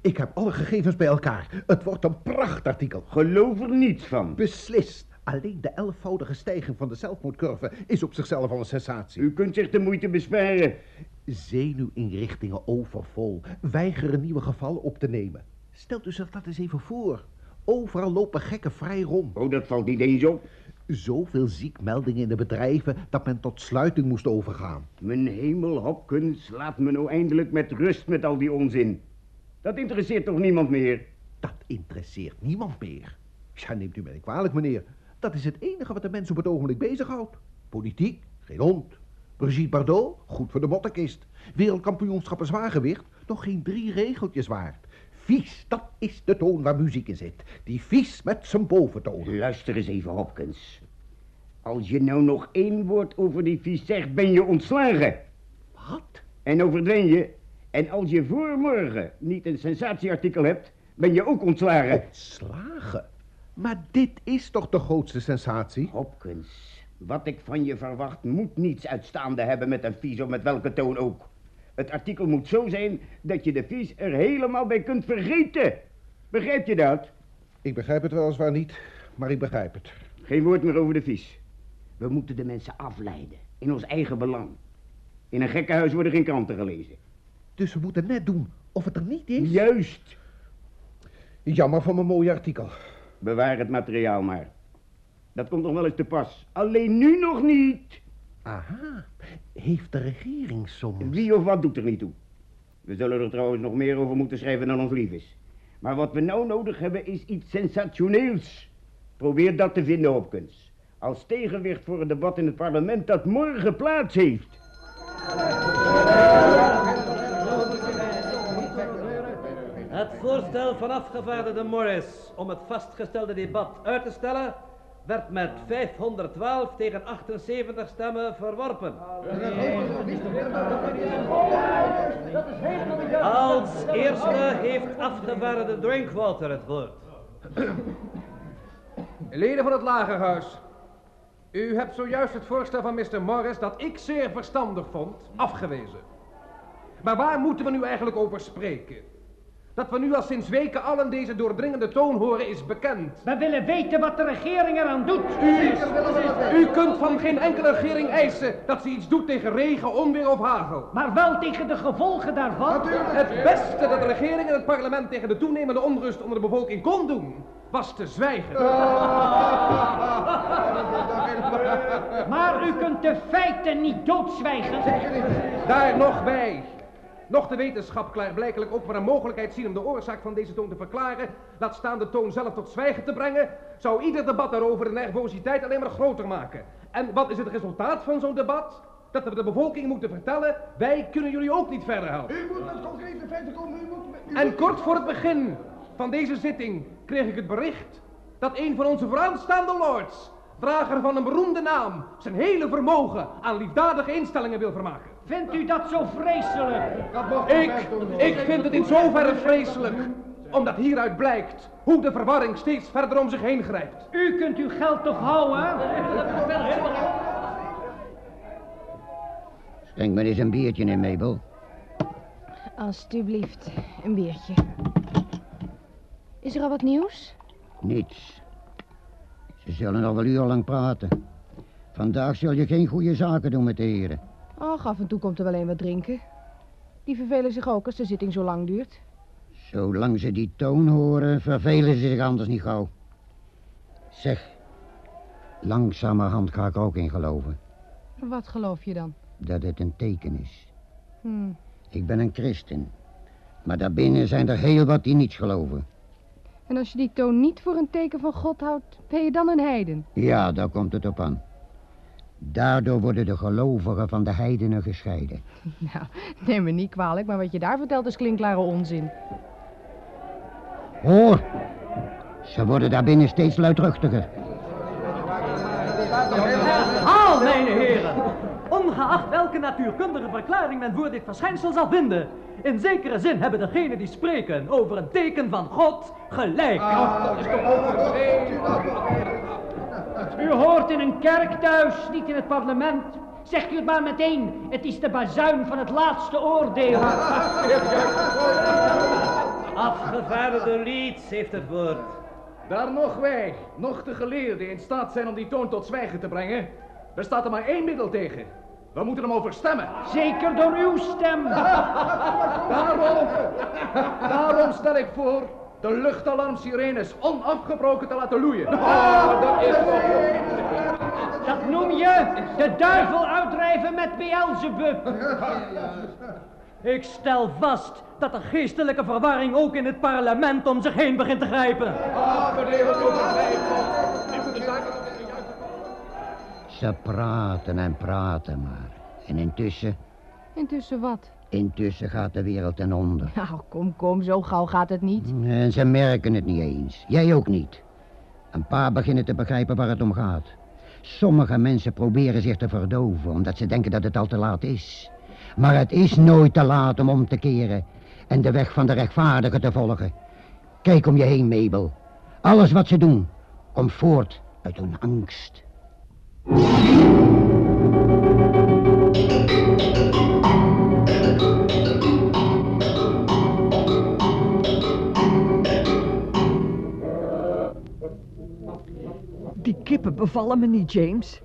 Ik heb alle gegevens bij elkaar. Het wordt een prachtartikel.
Geloof er niets van.
Beslist. Alleen de elfvoudige stijging van de zelfmoordcurve is op zichzelf al een sensatie.
U kunt zich de moeite besparen.
Zenuwinrichtingen overvol. Weigeren nieuwe gevallen op te nemen. Stelt u zich dat eens even voor. Overal lopen gekken vrij rond.
Oh, dat valt niet eens op.
Zoveel ziekmeldingen in de bedrijven dat men tot sluiting moest overgaan.
Mijn hemel, Hopkins, laat me nou eindelijk met rust met al die onzin. Dat interesseert toch niemand meer?
Dat interesseert niemand meer. Ja, neemt u mij niet kwalijk, meneer. Dat is het enige wat de mensen op het ogenblik bezighoudt. Politiek, geen hond. Brigitte Bardot, goed voor de mottenkist. Wereldkampioenschappen zwaargewicht, nog geen drie regeltjes waard. Vies, dat is de toon waar muziek in zit. Die vies met zijn boventoon.
Luister eens even, Hopkins. Als je nou nog één woord over die vies zegt, ben je ontslagen.
Wat?
En overdween je. En als je voor morgen niet een sensatieartikel hebt, ben je ook ontslagen.
Ontslagen? Maar dit is toch de grootste sensatie?
Hopkins, wat ik van je verwacht moet niets uitstaande hebben met een vies of met welke toon ook. Het artikel moet zo zijn dat je de vies er helemaal bij kunt vergeten. Begrijp je dat?
Ik begrijp het weliswaar niet, maar ik begrijp het.
Geen woord meer over de vies. We moeten de mensen afleiden, in ons eigen belang. In een gekkenhuis worden geen kranten gelezen.
Dus we moeten net doen of het er niet is.
Juist.
Jammer van mijn mooie artikel.
Bewaar het materiaal maar. Dat komt nog wel eens te pas. Alleen nu nog niet.
Aha. Heeft de regering soms...
Wie of wat doet er niet toe. We zullen er trouwens nog meer over moeten schrijven dan ons lief is. Maar wat we nou nodig hebben is iets sensationeels. Probeer dat te vinden, Hopkins. Als tegenwicht voor het debat in het parlement dat morgen plaats heeft.
Het voorstel van afgevaardigde Morris om het vastgestelde debat uit te stellen werd met 512 tegen 78 stemmen verworpen. Als eerste heeft afgevaardigde Drinkwater het woord.
Leden van het Lagerhuis, u hebt zojuist het voorstel van Mr. Morris, dat ik zeer verstandig vond, afgewezen. Maar waar moeten we nu eigenlijk over spreken? Dat we nu al sinds weken allen deze doordringende toon horen is bekend.
We willen weten wat de regering eraan doet.
U, u kunt van geen enkele regering eisen dat ze iets doet tegen regen, onweer of hagel.
Maar wel tegen de gevolgen daarvan.
Natuurlijk. Het beste dat de regering en het parlement tegen de toenemende onrust onder de bevolking kon doen, was te zwijgen.
Maar u kunt de feiten niet doodzwijgen.
Daar nog bij. Nog de wetenschap klaarblijkelijk ook maar een mogelijkheid zien om de oorzaak van deze toon te verklaren, laat staan de toon zelf tot zwijgen te brengen, zou ieder debat daarover de nervositeit alleen maar groter maken. En wat is het resultaat van zo'n debat? Dat we de bevolking moeten vertellen, wij kunnen jullie ook niet verder helpen.
U moet met concrete feiten komen, u moet...
Nou. En kort voor het begin van deze zitting kreeg ik het bericht dat een van onze vooraanstaande lords, drager van een beroemde naam, zijn hele vermogen aan liefdadige instellingen wil vermaken.
Vindt u dat zo vreselijk?
Dat mag ik, ik vind het in zoverre vreselijk, omdat hieruit blijkt hoe de verwarring steeds verder om zich heen grijpt.
U kunt uw geld toch houden?
Schenk me eens een biertje in, Mabel.
Alsjeblieft, een biertje. Is er al wat nieuws?
Niets. Ze zullen nog wel urenlang praten. Vandaag zul je geen goede zaken doen met de heren.
Och, af en toe komt er wel een wat drinken. Die vervelen zich ook als de zitting zo lang duurt.
Zolang ze die toon horen, vervelen ze zich anders niet gauw. Zeg, langzamerhand ga ik ook in geloven.
Wat geloof je dan?
Dat het een teken is.
Hmm.
Ik ben een christen. Maar daarbinnen zijn er heel wat die niets geloven.
En als je die toon niet voor een teken van God houdt, ben je dan een heiden?
Ja, daar komt het op aan. Daardoor worden de gelovigen van de heidenen gescheiden.
Nou, neem me niet kwalijk, maar wat je daar vertelt is klinklare onzin.
Hoor, ze worden daarbinnen steeds luidruchtiger.
Haal, mijn heren! Ongeacht welke natuurkundige verklaring men voor dit verschijnsel zal vinden... in zekere zin hebben degenen die spreken over een teken van God gelijk.
Ah, dat is toch overdreven.
U hoort in een kerk thuis, niet in het parlement.
Zegt u het maar meteen. Het is de bazuin van het laatste oordeel.
Afgevaardigde Leeds heeft het woord.
Daar nog wij, nog de geleerden in staat zijn om die toon tot zwijgen te brengen, bestaat er maar één middel tegen. We moeten hem over stemmen.
Zeker door uw stem.
daarom, daarom stel ik voor de luchtalarmsirenes onafgebroken te laten loeien.
Ah,
Oh, dat is Dat noem je de duivel uitdrijven met Beelzebub.
Ik stel vast dat de geestelijke verwarring ook in het parlement om zich heen begint te grijpen.
Ze praten en praten maar. En intussen,
Intussen wat?
intussen gaat de wereld ten onder.
Nou, kom, kom, zo gauw gaat het niet.
En ze merken het niet eens. Jij ook niet. Een paar beginnen te begrijpen waar het om gaat. Sommige mensen proberen zich te verdoven omdat ze denken dat het al te laat is. Maar het is nooit te laat om om te keren en de weg van de rechtvaardigen te volgen. Kijk om je heen, Mabel. Alles wat ze doen komt voort uit hun angst.
Die kippen bevallen me niet, James.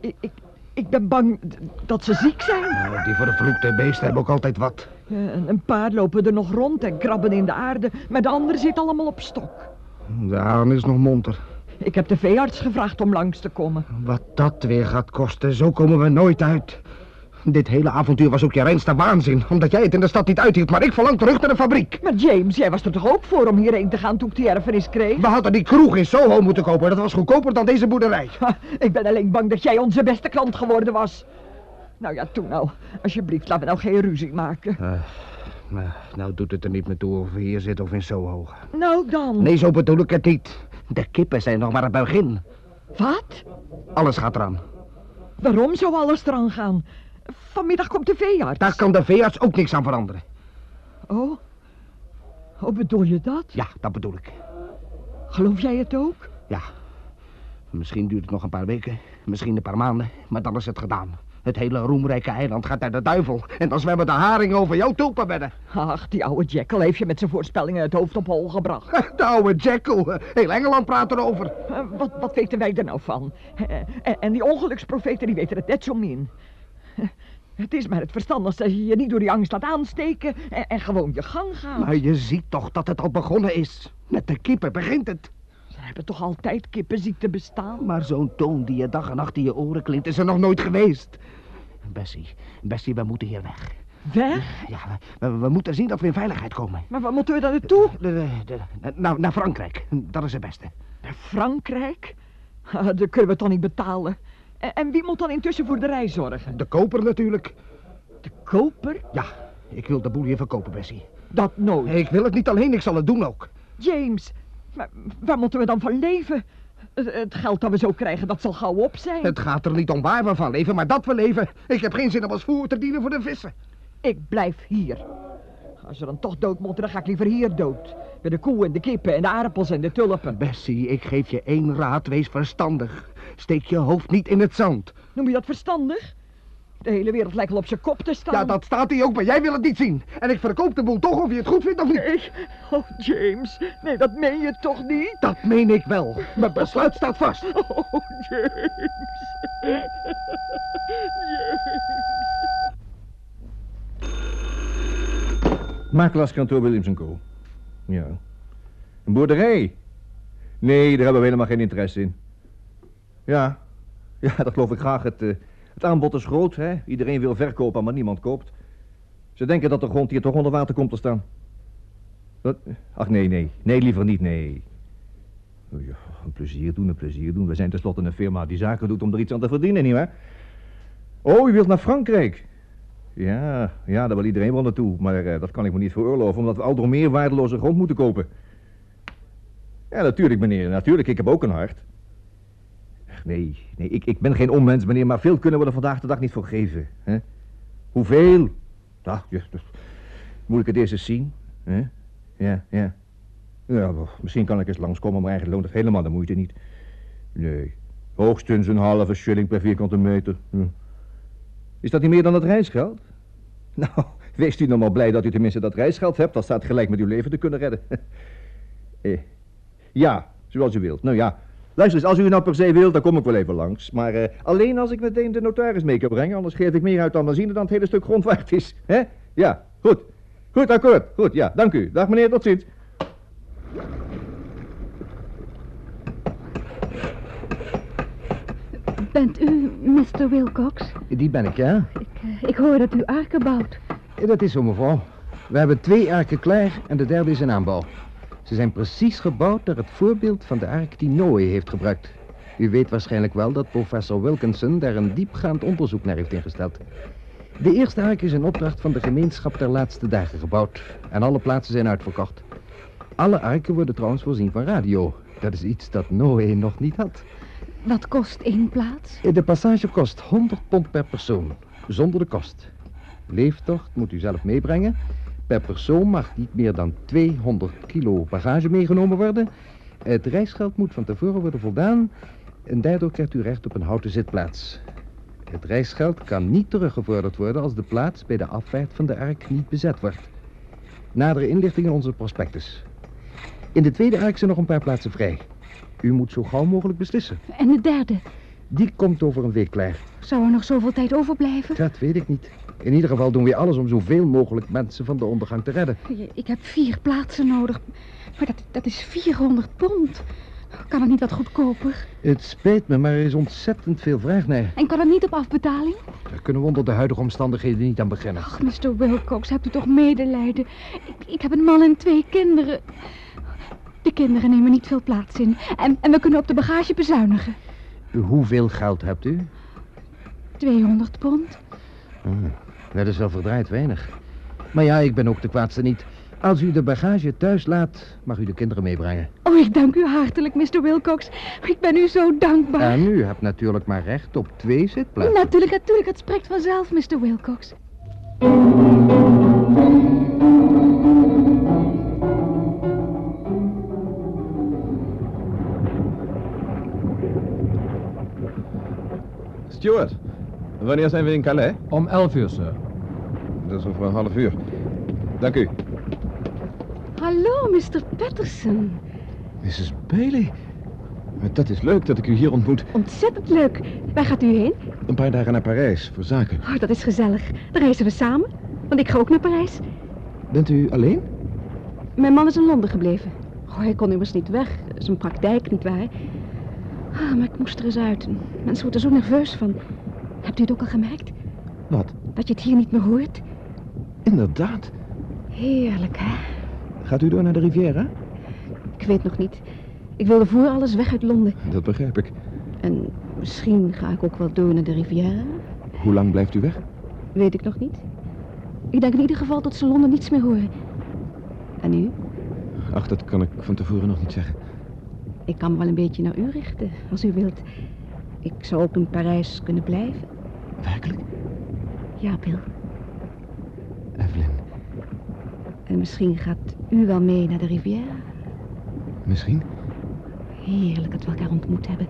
Ik, ik, ik ben bang d- dat ze ziek zijn.
Nou, die vervloekte beesten hebben ook altijd wat.
Eh, Een, een paar lopen er nog rond en krabben in de aarde, maar de anderen zitten allemaal op stok.
De haan is nog monter.
Ik heb de veearts gevraagd om langs te komen.
Wat dat weer gaat kosten, zo komen we nooit uit. Dit hele avontuur was ook je reinste waanzin, omdat jij het in de stad niet uithield, maar ik verlang terug naar de fabriek.
Maar James, jij was er toch ook voor om hierheen te gaan toen ik die erfenis kreeg?
We hadden die kroeg in Soho moeten kopen, dat was goedkoper dan deze boerderij.
Ik ben alleen bang dat jij onze beste klant geworden was. Nou ja, toen nou. Alsjeblieft, laten we nou geen ruzie maken.
Eh, nou, nou doet het er niet meer toe of we hier zitten of in Soho.
Nou dan.
Nee, zo bedoel ik het niet. De kippen zijn nog maar het begin.
Wat?
Alles gaat eraan.
Waarom zou alles eraan gaan? Vanmiddag komt de veearts.
Daar kan de veearts ook niks aan veranderen.
Oh? Oh, bedoel je dat?
Ja, dat bedoel ik.
Geloof jij het ook?
Ja. Misschien duurt het nog een paar weken, misschien een paar maanden, maar dan is het gedaan. Het hele roemrijke eiland gaat naar de duivel. En dan zwemmen de haringen over jouw tulpenbedden.
Ach, die oude Jackal heeft je met zijn voorspellingen het hoofd op hol gebracht. Eh,
De oude Jackal. Heel Engeland praat erover.
Wat, wat weten wij er nou van? Eh, En, en die ongeluksprofeten die weten het net zo min. Eh, Het is maar het verstandigste als je je niet door die angst laat aansteken en, en gewoon je gang gaat.
Maar je ziet toch dat het al begonnen is. Met de kippen begint het.
Ze hebben toch altijd kippenziekte bestaan?
Maar zo'n toon die je dag en nacht in je oren klinkt is er nog nooit geweest. Bessie, Bessie, we moeten hier weg.
Weg?
Ja, we, we- we moeten zien dat we in veiligheid komen.
Maar waar moeten we dan naartoe?
nou, naar, naar Frankrijk, dat is het beste.
Naar Frankrijk? Ah, Dat kunnen we toch niet betalen? En, en wie moet dan intussen voor de rij zorgen?
De koper natuurlijk.
De koper?
Ja, ik wil de boel hier verkopen, Bessie.
Dat nooit.
Ik wil het niet alleen, ik zal het doen ook.
James, maar waar moeten we dan van leven? Het, het geld dat we zo krijgen, dat zal gauw op zijn.
Het gaat er niet om waar we van leven, maar dat we leven. Ik heb geen zin om als voer te dienen voor de vissen.
Ik blijf hier. Als we dan toch dood moeten, dan ga ik liever hier dood. Bij de koe en de kippen en de aardappels en de tulpen.
Bessie, ik geef je één raad, wees verstandig. Steek je hoofd niet in het zand.
Noem je dat verstandig? De hele wereld lijkt wel op zijn kop te staan.
Ja, dat staat hier ook, maar jij wil het niet zien. En ik verkoop de boel toch, of je het goed vindt of niet.
Oh, James, nee, dat meen je toch niet?
Dat meen ik wel. Mijn besluit staat vast.
Oh, James. James.
Makelaarskantoor Williams Co. Ja. Een boerderij? Nee, daar hebben we helemaal geen interesse in. Ja. Ja, dat geloof ik graag. Het, eh, het aanbod is groot, hè. Iedereen wil verkopen, maar niemand koopt. Ze denken dat de grond hier toch onder water komt te staan. Wat? Ach, nee, nee. Nee, liever niet, nee. Oh Ja, een plezier doen, een plezier doen. We zijn tenslotte een firma die zaken doet om er iets aan te verdienen, nietwaar? Oh, u wilt naar Frankrijk? Ja, ja, daar wil iedereen wel naartoe. Maar eh, dat kan ik me niet veroorloven, omdat we al door meer waardeloze grond moeten kopen. Ja, natuurlijk, meneer. Natuurlijk, ik heb ook een hart. Ach, nee, nee, ik, ik ben geen onmens, meneer, maar veel kunnen we er vandaag de dag niet voor geven. Hè? Hoeveel? Ja, ja, dus, moet ik het eerst eens zien? Hè? Ja, ja. Ja, wel, misschien kan ik eens langskomen, maar eigenlijk loont het helemaal de moeite niet. Nee, hoogstens een halve shilling per vierkante meter. Hm. Is dat niet meer dan het reisgeld? Nou, wees u nog maar blij dat u tenminste dat reisgeld hebt. Dat staat gelijk met uw leven te kunnen redden. Eh, ja, zoals u wilt. Nou ja, luister eens, als u nou per se wilt, dan kom ik wel even langs. Maar eh, alleen als ik meteen de notaris mee kan brengen. Anders geef ik meer uit aan benzine dan het hele stuk grond waard is. hè? Ja, goed. Goed, akkoord. Goed, ja, dank u. Dag meneer, tot ziens.
Bent u Mr. Wilcox?
Die ben ik, ja.
Eh, Ik hoor dat u arken bouwt.
Dat is zo, mevrouw. We hebben twee arken klaar en de derde is in aanbouw. Ze zijn precies gebouwd naar het voorbeeld van de ark die Noé heeft gebruikt. U weet waarschijnlijk wel dat professor Wilkinson daar een diepgaand onderzoek naar heeft ingesteld. De eerste ark is in opdracht van de gemeenschap der laatste dagen gebouwd. En alle plaatsen zijn uitverkocht. Alle arken worden trouwens voorzien van radio. Dat is iets dat Noé nog niet had.
Wat kost één plaats?
De passage kost 100 pond per persoon, zonder de kost. Leeftocht moet u zelf meebrengen. Per persoon mag niet meer dan 200 kilo bagage meegenomen worden. Het reisgeld moet van tevoren worden voldaan en daardoor krijgt u recht op een houten zitplaats. Het reisgeld kan niet teruggevorderd worden als de plaats bij de afvaart van de ark niet bezet wordt. Nadere inlichtingen in onze prospectus. In de tweede ark zijn nog een paar plaatsen vrij. U moet zo gauw mogelijk beslissen.
En de derde?
Die komt over een week klaar.
Zou er nog zoveel tijd overblijven?
Dat weet ik niet. In ieder geval doen we alles om zoveel mogelijk mensen van de ondergang te redden.
Je- Ik heb vier plaatsen nodig. Maar dat, dat is 400 pond. Kan het niet wat goedkoper?
Het spijt me, maar er is ontzettend veel vraag naar.
En kan het niet op afbetaling?
Daar kunnen we onder de huidige omstandigheden niet aan beginnen.
Ach, Mr. Wilcox, hebt u toch medelijden? Ik, ik heb een man en twee kinderen. De kinderen nemen niet veel plaats in. En, en we kunnen op de bagage bezuinigen.
Hoeveel geld hebt u?
200 pond.
Ah, dat is wel verdraaid weinig. Maar ja, ik ben ook de kwaadste niet. Als u de bagage thuis laat, mag u de kinderen meebrengen.
Oh, ik dank u hartelijk, Mr. Wilcox. Ik ben u zo dankbaar.
En u hebt natuurlijk maar recht op twee zitplaatsen.
Natuurlijk, natuurlijk. Het spreekt vanzelf, Mr. Wilcox.
Stuart, wanneer zijn we in Calais?
Om elf uur, sir.
Dat is over een half uur. Dank u.
Hallo, Mr. Patterson.
Mrs. Bailey. Dat is leuk dat ik u hier ontmoet.
Ontzettend leuk. Waar gaat u heen?
Een paar dagen naar Parijs, voor zaken.
Oh, dat is gezellig. Dan reizen we samen. Want ik ga ook naar Parijs.
Bent u alleen?
Mijn man is in Londen gebleven. Oh, hij kon immers niet weg. Zijn praktijk, nietwaar? Ah, maar ik moest er eens uit. Mensen worden zo nerveus van. Hebt u het ook al gemerkt?
Wat?
Dat je het hier niet meer hoort?
Inderdaad.
Heerlijk, hè?
Gaat u door naar de Riviera?
Ik weet nog niet. Ik wilde voor alles weg uit Londen.
Dat begrijp ik.
En misschien ga ik ook wel door naar de Riviera.
Hoe lang blijft u weg?
Weet ik nog niet. Ik denk in ieder geval dat ze Londen niets meer horen. En u?
Ach, dat kan ik van tevoren nog niet zeggen.
Ik kan me wel een beetje naar u richten, als u wilt. Ik zou ook in Parijs kunnen blijven.
Werkelijk?
Ja, Bill.
Evelyn,
En misschien gaat u wel mee naar de Riviera.
misschien?
Heerlijk dat we elkaar ontmoet hebben.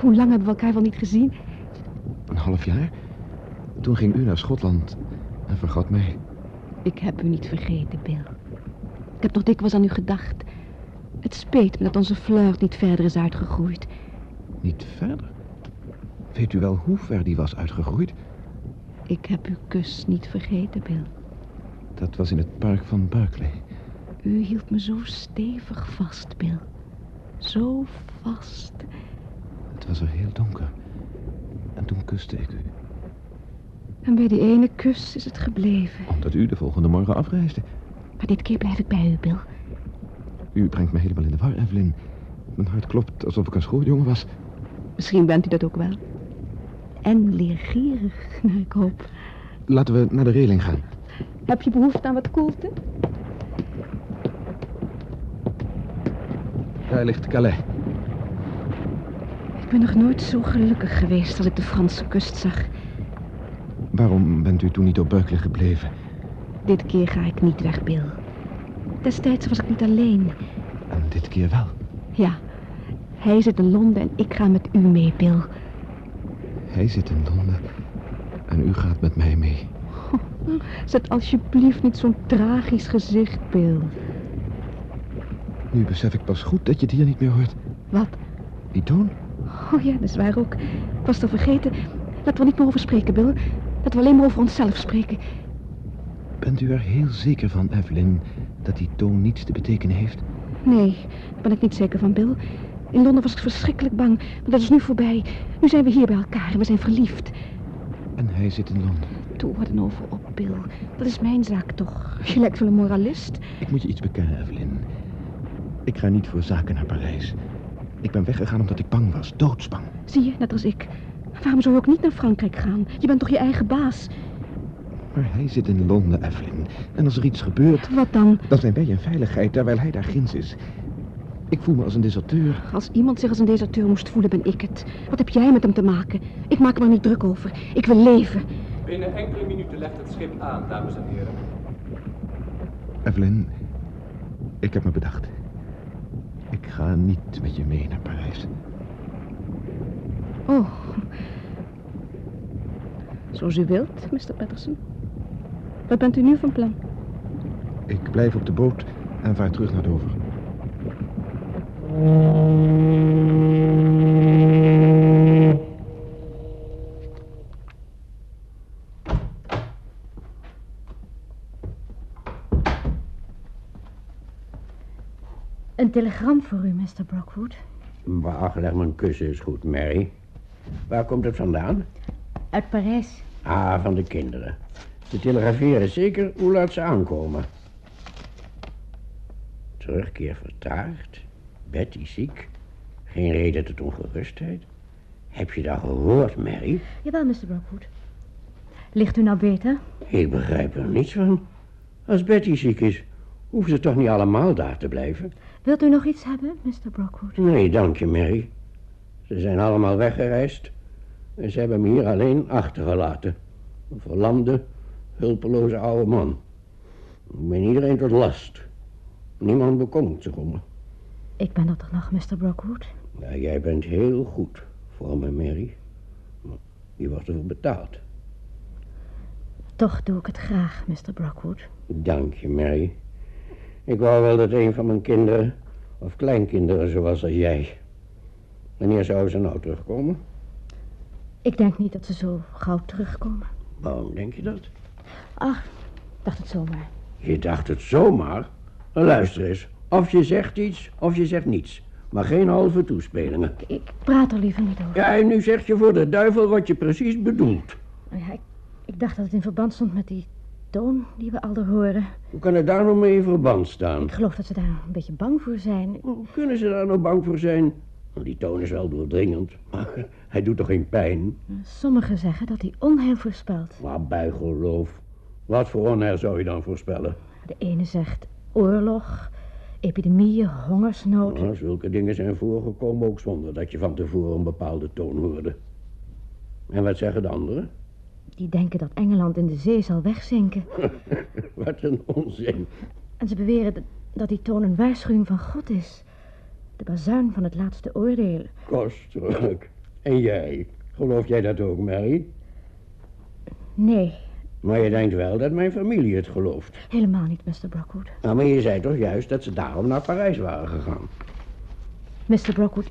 Hoe lang hebben we elkaar wel niet gezien?
Een half jaar? Toen ging u naar Schotland en vergat mij.
Ik heb u niet vergeten, Bill. Ik heb nog dikwijls aan u gedacht. Het speet me dat onze flirt niet verder is uitgegroeid.
Niet verder? Weet u wel hoe ver die was uitgegroeid?
Ik heb uw kus niet vergeten, Bill.
Dat was in het park van Berkeley.
U hield me zo stevig vast, Bill. Zo vast.
Het was er heel donker. En toen kuste ik u.
En bij die ene kus is het gebleven.
Omdat u de volgende morgen afreisde.
Maar dit keer blijf ik bij u, Bill.
U brengt me helemaal in de war, Evelyn. Mijn hart klopt alsof ik een schooljongen was.
Misschien bent u dat ook wel. En leergierig, naar ik hoop.
Laten we naar de reling gaan.
Heb je behoefte aan wat koelte?
Daar ligt Calais.
Ik ben nog nooit zo gelukkig geweest als ik de Franse kust zag.
Waarom bent u toen niet op Berkeley gebleven?
Dit keer ga ik niet weg, Bill. Destijds was ik niet alleen.
En dit keer wel.
Ja, hij zit in Londen en ik ga met u mee, Bill.
Hij zit in Londen. En u gaat met mij mee.
Zet alsjeblieft niet zo'n tragisch gezicht, Bill.
Nu besef ik pas goed dat je het hier niet meer hoort.
Wat?
Die toon?
Oh ja, dat is waar ook. Ik was er vergeten. Laten we er niet meer over spreken, Bill. Laten we alleen maar over onszelf spreken.
Bent u er heel zeker van, Evelyn, dat die toon niets te betekenen heeft?
Nee, daar ben ik niet zeker van, Bill. In Londen was ik verschrikkelijk bang, maar dat is nu voorbij. Nu zijn we hier bij elkaar en we zijn verliefd.
En hij zit in Londen.
Toe, hoor dan over op, Bill. Dat is mijn zaak toch? Je lijkt wel een moralist.
Ik moet je iets bekennen, Evelyn. Ik ga niet voor zaken naar Parijs. Ik ben weggegaan omdat ik bang was, doodsbang.
Zie je, net als ik. Waarom zou je ook niet naar Frankrijk gaan? Je bent toch je eigen baas?
Maar hij zit in Londen, Evelyn. En als er iets gebeurt...
Wat dan?
Dan zijn wij in veiligheid, terwijl hij daar ginds is. Ik voel me als een deserteur.
Als iemand zich als een deserteur moest voelen, ben ik het. Wat heb jij met hem te maken? Ik maak me er niet druk over. Ik wil leven.
Binnen enkele minuten legt het schip aan, dames en heren.
Evelyn, ik heb me bedacht. Ik ga niet met je mee naar Parijs.
Oh. Zoals u wilt, Mr. Patterson. Wat bent u nu van plan?
Ik blijf op de boot en vaar terug naar Dover.
Een telegram voor u, Mr. Brockwood.
Wacht, leg mijn kussen eens goed, Mary. Waar komt het vandaan?
Uit Parijs.
Ah, van de kinderen. Ze telegraferen zeker hoe laat ze aankomen. Terugkeer vertraagd. Betty ziek. Geen reden tot ongerustheid. Heb je dat gehoord, Mary?
Jawel, Mr. Brockwood. Ligt u nou beter?
Ik begrijp er niets van. Als Betty ziek is, hoeven ze toch niet allemaal daar te blijven?
Wilt u nog iets hebben, Mr. Brockwood?
Nee, dank je, Mary. Ze zijn allemaal weggereisd. En ze hebben me hier alleen achtergelaten. Een verlamde, hulpeloze oude man. Ik ben iedereen tot last. Niemand bekomt zich om me.
Ik ben er toch nog, Mr. Brockwood?
Ja, jij bent heel goed voor me, Mary. Maar je wordt ervoor betaald.
Toch doe ik het graag, Mr. Brockwood.
Dank je, Mary. Ik wou wel dat een van mijn kinderen, of kleinkinderen, zo was als jij. Wanneer zouden ze nou terugkomen?
Ik denk niet dat ze zo gauw terugkomen.
Waarom denk je dat?
Ach, dacht het zomaar.
Je dacht het zomaar? Nou, Luister eens, of je zegt iets, of je zegt niets. Maar geen halve toespelingen.
Ik praat er liever niet over.
Ja, en nu zeg je voor de duivel wat je precies bedoelt.
Nou ja, ik, ik dacht dat het in verband stond met die toon die we alder horen.
Hoe kan het daar nou mee in verband staan?
Ik geloof dat ze daar een beetje bang voor zijn.
Hoe kunnen ze daar nou bang voor zijn? Nou, Die toon is wel doordringend, maar hij doet toch geen pijn?
Sommigen zeggen dat hij onheil voorspelt.
Maar bijgeloof, wat voor onheil zou je dan voorspellen?
De ene zegt oorlog, epidemieën, hongersnood.
Nou, zulke dingen zijn voorgekomen ook zonder dat je van tevoren een bepaalde toon hoorde. En wat zeggen de anderen?
Die denken dat Engeland in de zee zal wegzinken.
Wat een onzin.
En ze beweren dat- dat die toon een waarschuwing van God is. De bazuin van het laatste oordeel.
Kostelijk. En jij, geloof jij dat ook, Mary?
Nee,
Maar je denkt wel dat mijn familie het gelooft.
helemaal niet, Mr. Brockwood.
Nou, maar je zei toch juist dat ze daarom naar Parijs waren gegaan?
Mr. Brockwood,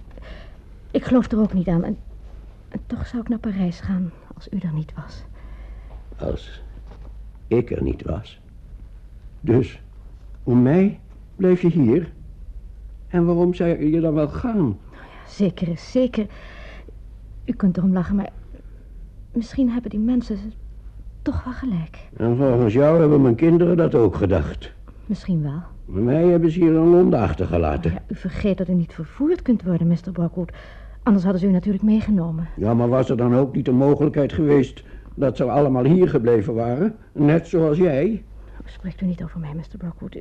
ik geloof er ook niet aan. En, en toch zou ik naar Parijs gaan als u er niet was.
Als ik er niet was. Dus, om mij bleef je hier? En waarom zou je dan wel gaan?
Zeker is zeker. U kunt erom lachen, maar misschien hebben die mensen toch wel gelijk.
En volgens jou hebben mijn kinderen dat ook gedacht.
Misschien wel.
Maar mij hebben ze hier in Londen achtergelaten.
U vergeet dat u niet vervoerd kunt worden, Mr. Brockwood. Anders hadden ze u natuurlijk meegenomen.
Ja, maar was er dan ook niet de mogelijkheid geweest dat ze allemaal hier gebleven waren? Net zoals jij?
Spreekt u niet over mij, Mr. Brockwood.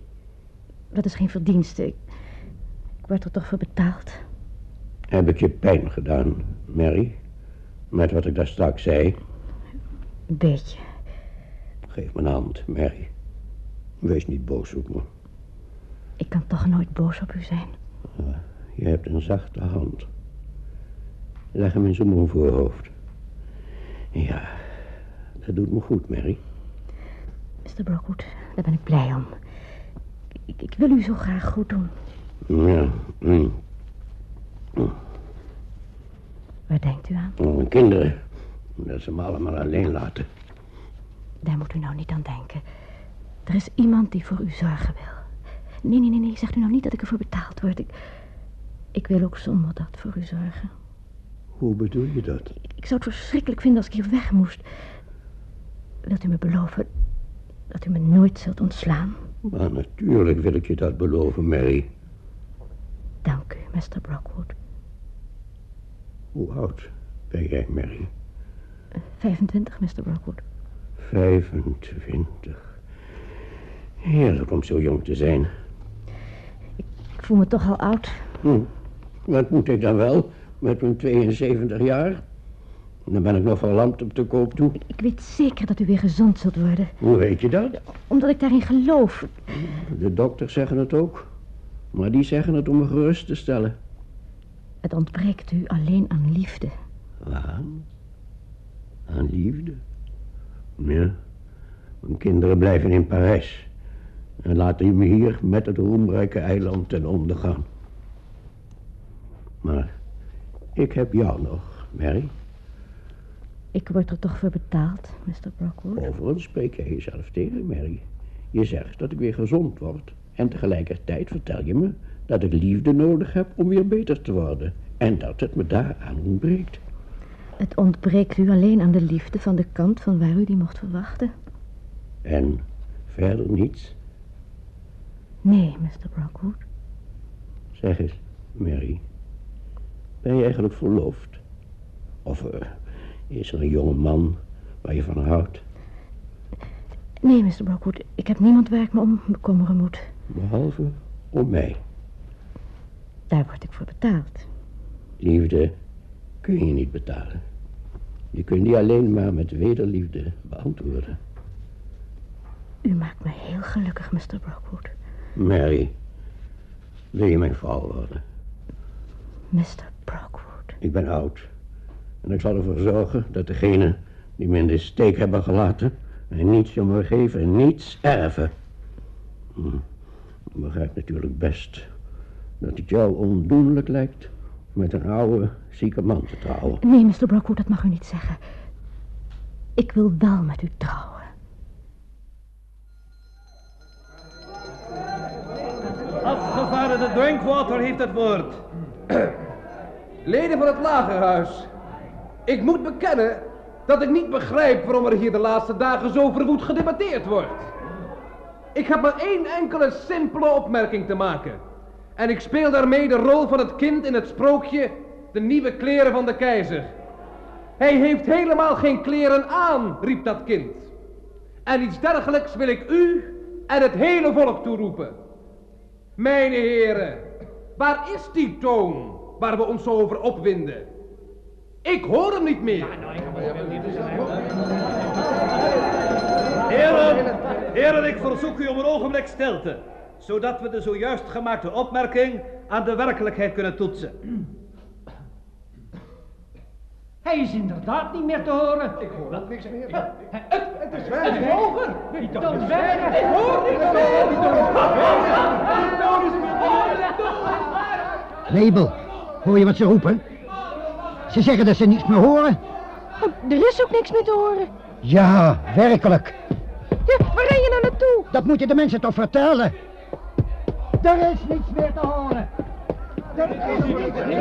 Dat is geen verdienste. Ik, ik word er toch voor betaald.
Heb ik je pijn gedaan, Mary? Met wat ik daar straks zei.
Een beetje.
Geef me een hand, Mary. Wees niet boos op me.
Ik kan toch nooit boos op u zijn.
Je hebt een zachte hand. Leg hem eens op mijn voorhoofd. Ja, Het doet me goed, Mary.
Mr. Brockwood, daar ben ik blij om. Ik, ik wil u zo graag goed doen.
Ja. mm.
Waar denkt u aan?
Oh, mijn kinderen. Dat ze me allemaal alleen laten.
Daar moet u nou niet aan denken. Er is iemand die voor u zorgen wil. Nee, nee, nee, nee. Zegt u nou niet dat ik ervoor betaald word. Ik, ik wil ook zonder dat voor u zorgen.
Hoe bedoel je dat?
Ik zou het verschrikkelijk vinden als ik hier weg moest. Wilt u me beloven dat u me nooit zult ontslaan?
Maar natuurlijk wil ik je dat beloven, Mary.
Dank u, Mr. Brockwood.
Hoe oud ben jij, Mary?
25, Mr. Brockwood.
25. Heerlijk om zo jong te zijn.
Ik voel me toch al oud.
Hm. Wat moet ik dan wel met mijn 72 jaar? Dan ben ik nog verlamd op de koop toe.
Ik weet zeker dat u weer gezond zult worden.
Hoe weet je dat?
Omdat ik daarin geloof.
De dokters zeggen het ook. Maar die zeggen het om me gerust te stellen.
Het ontbreekt u alleen aan liefde.
Waaraan? Aan liefde? Ja. Mijn kinderen blijven in Parijs. En laten me hier met het roemrijke eiland ten onder gaan. Maar ik heb jou nog, Mary.
Ik word er toch voor betaald, Mr. Brockwood.
Overigens spreek jij jezelf tegen, Mary. Je zegt dat ik weer gezond word. En tegelijkertijd vertel je me dat ik liefde nodig heb om weer beter te worden. En dat het me daaraan ontbreekt.
Het ontbreekt u alleen aan de liefde van de kant van waar u die mocht verwachten.
En verder niets.
Nee, Mr. Brockwood.
Zeg eens, Mary. Ben je eigenlijk verloofd? Of eh, is er een jonge man waar je van houdt?
Nee, Mr. Brockwood, ik heb niemand waar ik me om bekommeren moet.
Behalve om mij.
Daar word ik voor betaald.
Liefde kun je niet betalen. Je kunt die alleen maar met wederliefde beantwoorden.
U maakt me heel gelukkig, Mr. Brockwood.
Mary, wil je mijn vrouw worden?
Mr. Brockwood.
Ik ben oud. En ik zal ervoor zorgen dat degenen die me in de steek hebben gelaten... en niets om me geven en niets erven. Hm. Ik begrijp natuurlijk best dat het jou ondoenlijk lijkt... met een oude, zieke man te trouwen.
Nee, Mr. Brockwood, dat mag u niet zeggen. Ik wil wel met u trouwen.
Afgevaardigde Drinkwater heeft het woord.
Leden van het Lagerhuis, ik moet bekennen dat ik niet begrijp waarom er hier de laatste dagen zo verwoed gedebatteerd wordt. Ik heb maar één enkele simpele opmerking te maken. En ik speel daarmee de rol van het kind in het sprookje De Nieuwe Kleren van de Keizer. Hij heeft helemaal geen kleren aan, riep dat kind. En iets dergelijks wil ik u en het hele volk toeroepen. Mijn heren, waar is die toon waar we ons zo over opwinden? Ik hoor hem niet meer.
Heren, heren, ik verzoek u om een ogenblik stilte. Zodat we de zojuist gemaakte opmerking aan de werkelijkheid kunnen toetsen.
Hij is inderdaad niet meer te horen. Ik hoor ook niks meer. Het is weg. Het is over. Die toon is weg. Ik hoor niks meer. Die toon is weg. Die toon is
Mabel, hoor je wat ze roepen? Ze zeggen dat ze niets meer horen.
Oh, Er is ook niks meer te horen.
Ja, werkelijk.
waar ren je nou naartoe?
Dat moeten de mensen toch vertellen?
Er is niets meer te horen. Er is niets meer te horen.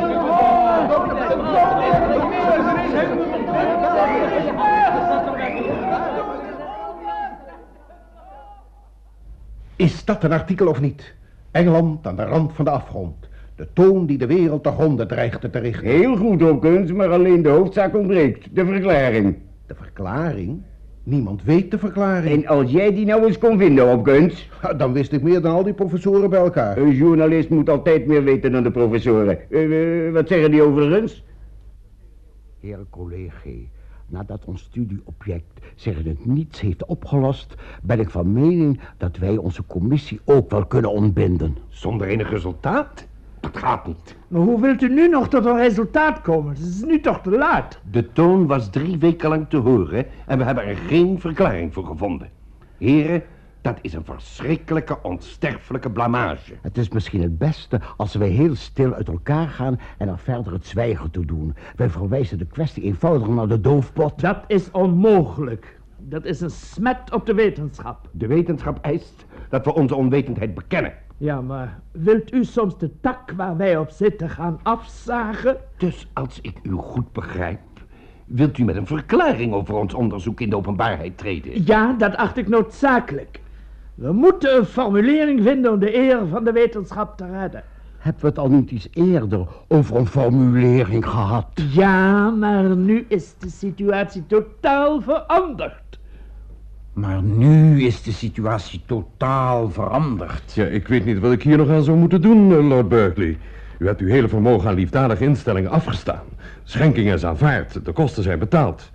Is dat een artikel of niet? Engeland aan de rand van de afgrond. De toon die de wereld te gronden dreigde te richten.
Heel goed, Hopkins, maar alleen de hoofdzaak ontbreekt. De verklaring.
De verklaring? Niemand weet de verklaring.
En als jij die nou eens kon vinden, Hopkins...
Dan wist ik meer dan al die professoren bij elkaar.
Een journalist moet altijd meer weten dan de professoren. Eh, eh, wat zeggen die overigens?
Heer collega, nadat ons studieobject zeggen het niets heeft opgelost, ben ik van mening dat wij onze commissie ook wel kunnen ontbinden.
Zonder enig resultaat?
Dat gaat niet.
Maar hoe wilt u nu nog tot een resultaat komen? Het is nu toch te laat.
De toon was drie weken lang te horen en we hebben er geen verklaring voor gevonden. Heren, dat is een verschrikkelijke, onsterfelijke blamage.
Het is misschien het beste als we heel stil uit elkaar gaan en er verder het zwijgen toe doen. Wij verwijzen de kwestie eenvoudig naar de doofpot.
Dat is onmogelijk. Dat is een smet op de wetenschap.
De wetenschap eist dat we onze onwetendheid bekennen.
Ja, maar wilt u soms de tak waar wij op zitten gaan afzagen?
Dus als ik u goed begrijp, wilt u met een verklaring over ons onderzoek in de openbaarheid treden?
Ja, dat acht ik noodzakelijk. We moeten een formulering vinden om de eer van de wetenschap te redden.
Hebben we het al niet iets eerder over een formulering gehad?
Ja, maar nu is de situatie totaal veranderd.
Maar nu is de situatie totaal veranderd.
Ja, ik weet niet wat ik hier nog aan zou moeten doen, eh, Lord Berkeley. U hebt uw hele vermogen aan liefdadige instellingen afgestaan. Schenkingen is aanvaard, de kosten zijn betaald.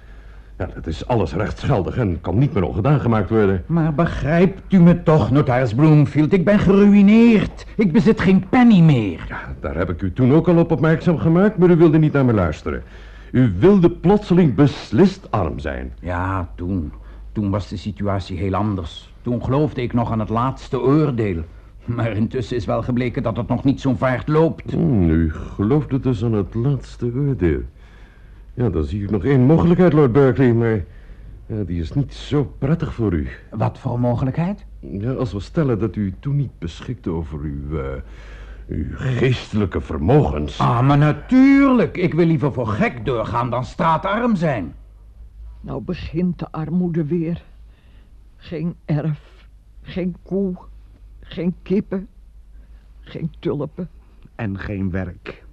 Ja, dat is alles rechtsgeldig en kan niet meer ongedaan gemaakt worden.
Maar begrijpt u me toch, notaris Bloomfield? Ik ben geruineerd. Ik bezit geen penny meer.
Daar heb ik u toen ook al op opmerkzaam gemaakt, maar u wilde niet naar me luisteren. U wilde plotseling beslist arm zijn.
Ja, toen. Toen was de situatie heel anders. Toen geloofde ik nog aan het laatste oordeel. Maar intussen is wel gebleken dat het nog niet zo'n vaart loopt.
Hmm, u geloofde dus aan het laatste oordeel. Ja, dan zie ik nog één mogelijkheid, Lord Berkeley, maar ja, die is niet zo prettig voor u.
Wat voor mogelijkheid?
Ja, als we stellen dat u toen niet beschikte over uw, eh, uw geestelijke vermogens.
Ah, maar natuurlijk. Ik wil liever voor gek doorgaan dan straatarm zijn.
Nou begint de armoede weer. Geen erf, geen koe, geen kippen, geen tulpen.
En geen werk.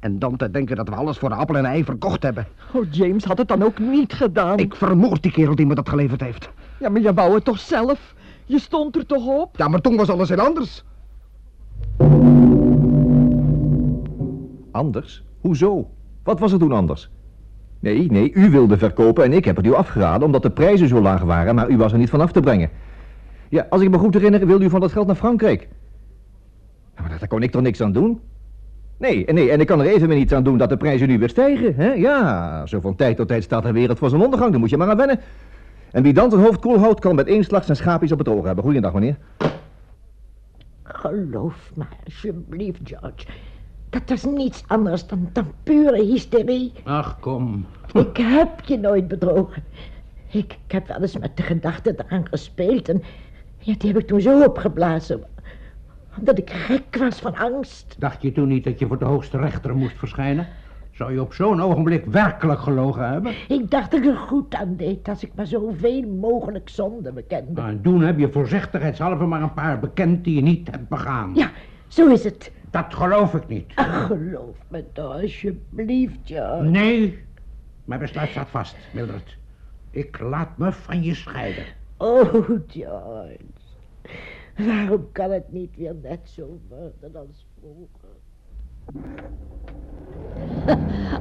En dan te denken dat we alles voor de appel en ei verkocht hebben.
Oh, James had het dan ook niet gedaan.
Ik vermoord die kerel die me dat geleverd heeft.
Ja, maar je wou het toch zelf? Je stond er toch op?
Ja, maar toen was alles heel anders.
Anders? Hoezo? Wat was er toen anders? Nee, nee, u wilde verkopen en ik heb het u afgeraden omdat de prijzen zo laag waren, maar u was er niet van af te brengen. Ja, als ik me goed herinner, wilde u van dat geld naar Frankrijk. Ja, maar daar kon ik toch niks aan doen? Nee, en nee, en ik kan er even weer niets aan doen dat de prijzen nu weer stijgen, hè? Ja, zo van tijd tot tijd staat de wereld voor zijn ondergang, daar moet je maar aan wennen. En wie dan zijn hoofd koel houdt, kan met één slag zijn schaapjes op het oog hebben. Goedendag, meneer.
Geloof me alsjeblieft, George. Dat is niets anders dan, dan pure hysterie.
Ach, kom.
Ik heb je nooit bedrogen. Ik, ik heb wel eens met de gedachte eraan gespeeld en ja, die heb ik toen zo opgeblazen. Omdat ik gek was van angst.
Dacht je toen niet dat je voor de hoogste rechter moest verschijnen? Zou je op zo'n ogenblik werkelijk gelogen hebben?
Ik dacht dat ik er goed aan deed als ik maar zoveel mogelijk zonde bekende.
Nou, en toen heb je voorzichtigheidshalve maar een paar bekend die je niet hebt begaan.
Ja, zo is het.
Dat geloof ik niet.
Ach, geloof me toch, alsjeblieft, George.
Nee, mijn besluit staat vast, Mildred. Ik laat me van je scheiden.
Oh, George. Waarom kan het niet weer net zo worden als vroeger?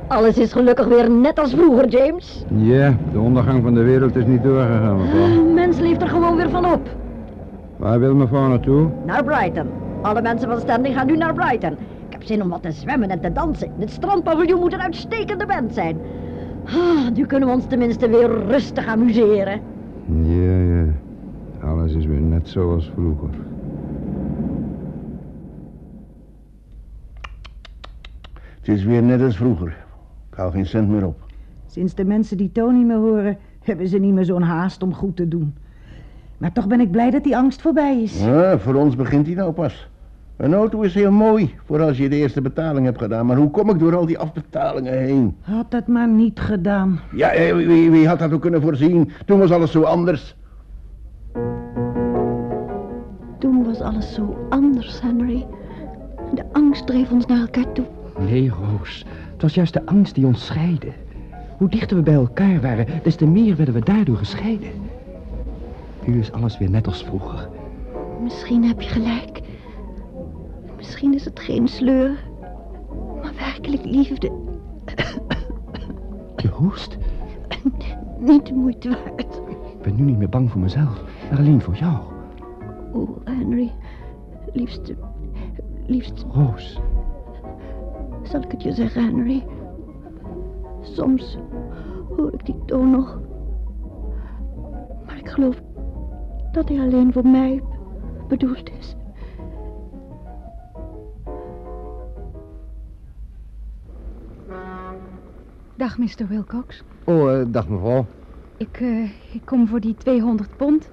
Alles is gelukkig weer net als vroeger, James.
Ja, de ondergang van de wereld is niet doorgegaan, mevrouw.
Mens leeft er gewoon weer van op.
Waar wil mevrouw naartoe?
Naar Brighton. Alle mensen van Standing gaan nu naar Brighton. Ik heb zin om wat te zwemmen en te dansen. In het strandpaviljoen moet een uitstekende band zijn. Ah, nu kunnen we ons tenminste weer rustig amuseren.
Ja, ja. Alles is weer net zoals vroeger.
Het is weer net als vroeger. Ik hou geen cent meer op.
Sinds de mensen die Tony niet meer horen, hebben ze niet meer zo'n haast om goed te doen. Maar toch ben ik blij dat die angst voorbij is.
Ja, voor ons begint hij nou pas. Een auto is heel mooi voor als je de eerste betaling hebt gedaan. Maar hoe kom ik door al die afbetalingen heen?
Had dat maar niet gedaan.
Ja, eh, wie, wie had dat ook kunnen voorzien? Toen was alles zo anders.
Toen was alles zo anders, Henry. De angst dreef ons naar elkaar toe.
Nee, Roos. Het was juist de angst die ons scheidde. Hoe dichter we bij elkaar waren, des te meer werden we daardoor gescheiden. Nu is alles weer net als vroeger.
Misschien heb je gelijk. Misschien is het geen sleur. Maar werkelijk liefde.
Je hoest?
Niet de moeite waard.
Ik ben nu niet meer bang voor mezelf, maar alleen voor jou.
Oh, Henry. Liefste. Liefste.
Roos,
Zal ik het je zeggen, Henry? Soms hoor ik die toon nog. Maar ik geloof dat hij alleen voor mij bedoeld is.
Dag, Mr. Wilcox.
Oh, eh, dag mevrouw.
Ik, eh, ik kom voor die 200 pond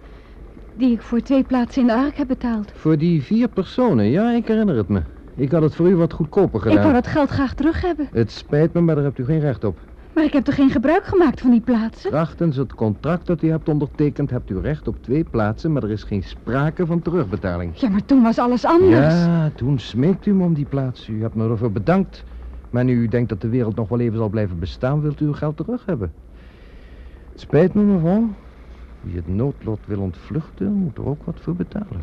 die ik voor twee plaatsen in de ark heb betaald.
Voor die vier personen, ja, ik herinner het me. Ik had het voor u wat goedkoper gedaan.
Ik wou dat geld graag terug hebben,
Het spijt me, maar daar hebt u geen recht op.
maar ik heb toch geen gebruik gemaakt van die plaatsen?
Krachtens het contract dat u hebt ondertekend, hebt u recht op twee plaatsen, maar er is geen sprake van terugbetaling.
Ja, maar toen was alles anders.
Ja, toen smeekt u me om die plaats. U hebt me ervoor bedankt. Maar nu u denkt dat de wereld nog wel even zal blijven bestaan, wilt u uw geld terug hebben. Het spijt me, mevrouw. Wie het noodlot wil ontvluchten, moet er ook wat voor betalen.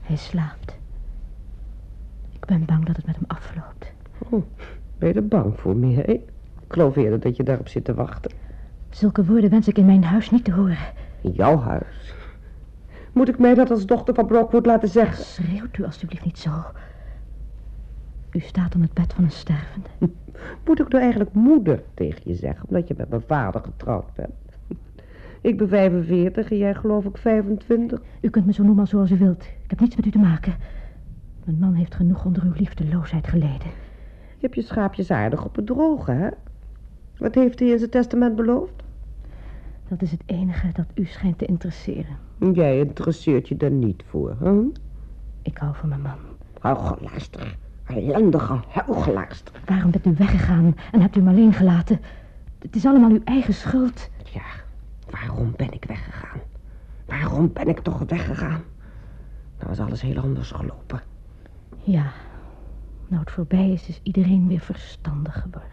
Hij slaapt. Ik ben bang dat het met hem afloopt.
Oh, ben je er bang voor, Mia? Ik geloof eerder dat je daarop zit te wachten.
Zulke woorden wens ik in mijn huis niet te horen.
In jouw huis. Moet ik mij dat als dochter van Brockwood laten zeggen?
Schreeuwt u alstublieft niet zo. U staat om het bed van een stervende.
Moet ik nou eigenlijk moeder tegen je zeggen, omdat je met mijn vader getrouwd bent? Ik ben 45 en jij geloof ik 25.
U kunt me zo noemen als zoals u wilt. Ik heb niets met u te maken. Mijn man heeft genoeg onder uw liefdeloosheid geleden.
Je hebt je schaapjes aardig op het droge, hè? Wat heeft hij in zijn testament beloofd?
Dat is het enige dat u schijnt te interesseren.
Jij interesseert je daar niet voor, hè?
Ik hou van mijn man.
Huigelaarster. Ellendige huigelaarster.
Waarom bent u weggegaan en hebt u hem alleen gelaten? Het is allemaal uw eigen schuld.
Ja, waarom ben ik weggegaan? Waarom ben ik toch weggegaan? Nou is alles heel anders gelopen.
Ja, nou het voorbij is, is iedereen weer verstandig geworden.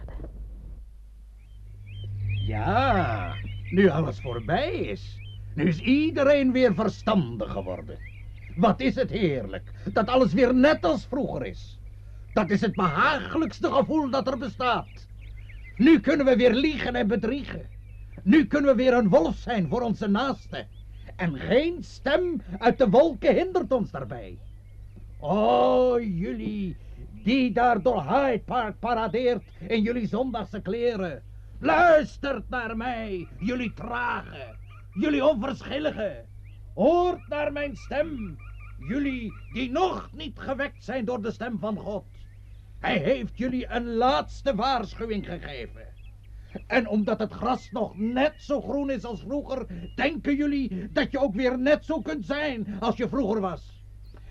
Ja, nu alles voorbij is. Nu is iedereen weer verstandig geworden. Wat is het heerlijk dat alles weer net als vroeger is. Dat is het behagelijkste gevoel dat er bestaat. Nu kunnen we weer liegen en bedriegen. Nu kunnen we weer een wolf zijn voor onze naasten. En geen stem uit de wolken hindert ons daarbij. O, jullie die daar door Hyde Park paradeert in jullie zondagse kleren. Luistert naar mij, jullie trage, jullie onverschillige. Hoort naar mijn stem, jullie die nog niet gewekt zijn door de stem van God. Hij heeft jullie een laatste waarschuwing gegeven. En omdat het gras nog net zo groen is als vroeger, denken jullie dat je ook weer net zo kunt zijn als je vroeger was.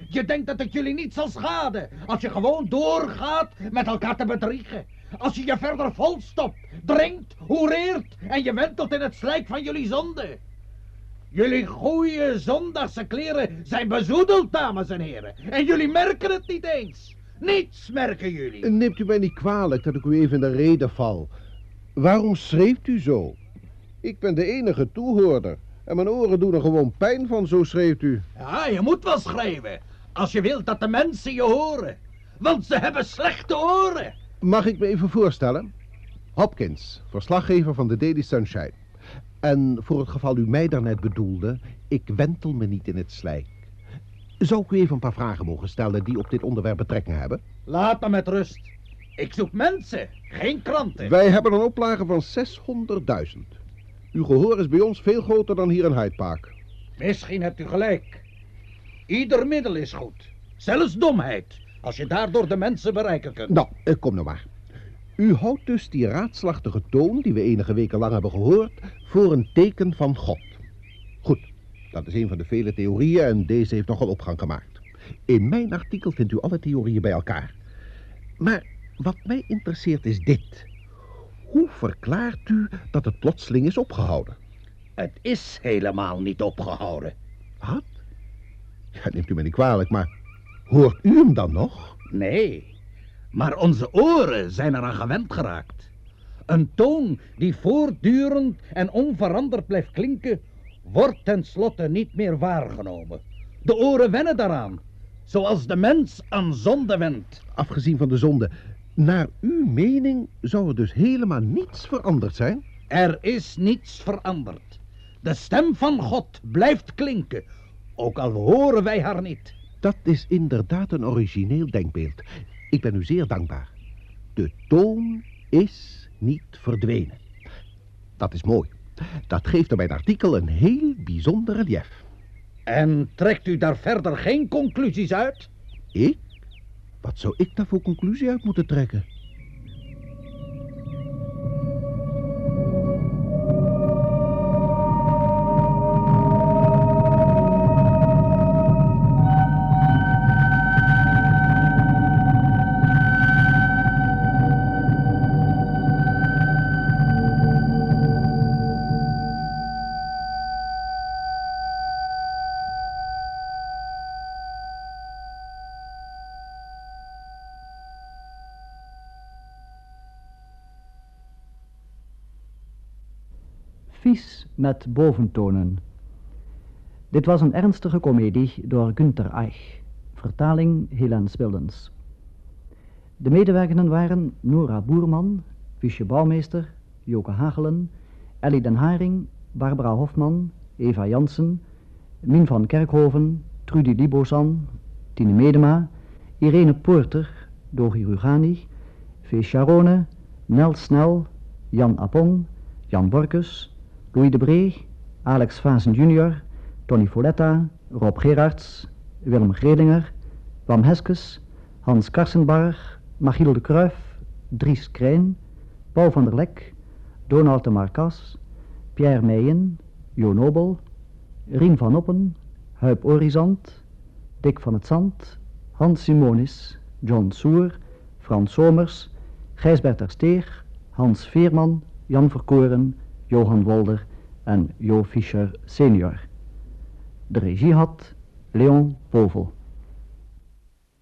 Je denkt dat het jullie niet zal schaden als je gewoon doorgaat met elkaar te bedriegen. Als je je verder volstopt, drinkt, hoereert en je wentelt in het slijk van jullie zonde. Jullie goede zondagse kleren zijn bezoedeld, dames en heren. En jullie merken het niet eens. Niets merken jullie.
Neemt u mij niet kwalijk dat ik u even in de reden val. Waarom schreeuwt u zo? Ik ben de enige toehoorder. En mijn oren doen er gewoon pijn van, zo schreeuwt u.
Ja, je moet wel schrijven. Als je wilt dat de mensen je horen. Want ze hebben slechte oren.
Mag ik me even voorstellen? Hopkins, verslaggever van de Daily Sunshine. En voor het geval u mij daarnet bedoelde, ik wentel me niet in het slijk. Zou ik u even een paar vragen mogen stellen die op dit onderwerp betrekking hebben?
Laat me met rust. Ik zoek mensen, geen kranten.
Wij hebben een oplage van 600.000. Uw gehoor is bij ons veel groter dan hier in Hyde Park.
Misschien hebt u gelijk. Ieder middel is goed. Zelfs domheid. Als je daardoor de mensen bereiken kunt.
Nou, eh, kom nou maar. U houdt dus die raadslachtige toon die we enige weken lang hebben gehoord voor een teken van God. Goed, dat is een van de vele theorieën en deze heeft nogal opgang gemaakt. In mijn artikel vindt u alle theorieën bij elkaar. Maar wat mij interesseert is dit. Hoe verklaart u dat het plotseling is opgehouden?
Het is helemaal niet opgehouden.
Wat? Ja, neemt u me niet kwalijk, maar hoort u hem dan nog?
Nee, maar onze oren zijn eraan gewend geraakt. Een toon die voortdurend en onveranderd blijft klinken, wordt tenslotte niet meer waargenomen. De oren wennen daaraan, zoals de mens aan zonde went.
Afgezien van de zonde, naar uw mening zou er dus helemaal niets veranderd zijn?
Er is niets veranderd. De stem van God blijft klinken, ook al horen wij haar niet.
Dat is inderdaad een origineel denkbeeld. Ik ben u zeer dankbaar. De toon is niet verdwenen. Dat is mooi. Dat geeft aan mijn artikel een heel bijzonder relief.
En trekt u daar verder geen conclusies uit?
Ik? Wat zou ik daar voor conclusie uit moeten trekken?
Vies met boventonen. Dit was een ernstige komedie door Günter Eich. Vertaling Helen Spildens. De medewerkenden waren Nora Boerman, Wiesje Bouwmeester, Joke Hagelen, Ellie den Haring, Barbara Hofman, Eva Jansen, Mien van Kerkhoven, Trudy Libosan, Tine Medema, Irene Poorter, Dogi Rugani, Vee Charone, Nel Snel, Jan Apong, Jan Borkus, Louis de Bree, Alex Vazen jr., Tony Folletta, Rob Gerards, Willem Gredinger, Wam Heskes, Hans Karsenbarg, Machiel de Kruif, Dries Krijn, Paul van der Lek, Donald de Marcas, Pierre Meijen, Jo Nobel, Rien van Oppen, Huip Orizant, Dick van het Zand, Hans Simonis, John Soer, Frans Somers, Gijsbert ter Steeg, Hans Veerman, Jan Verkoren, Johan Wolder en Jo Fischer senior. De regie had Leon Povel.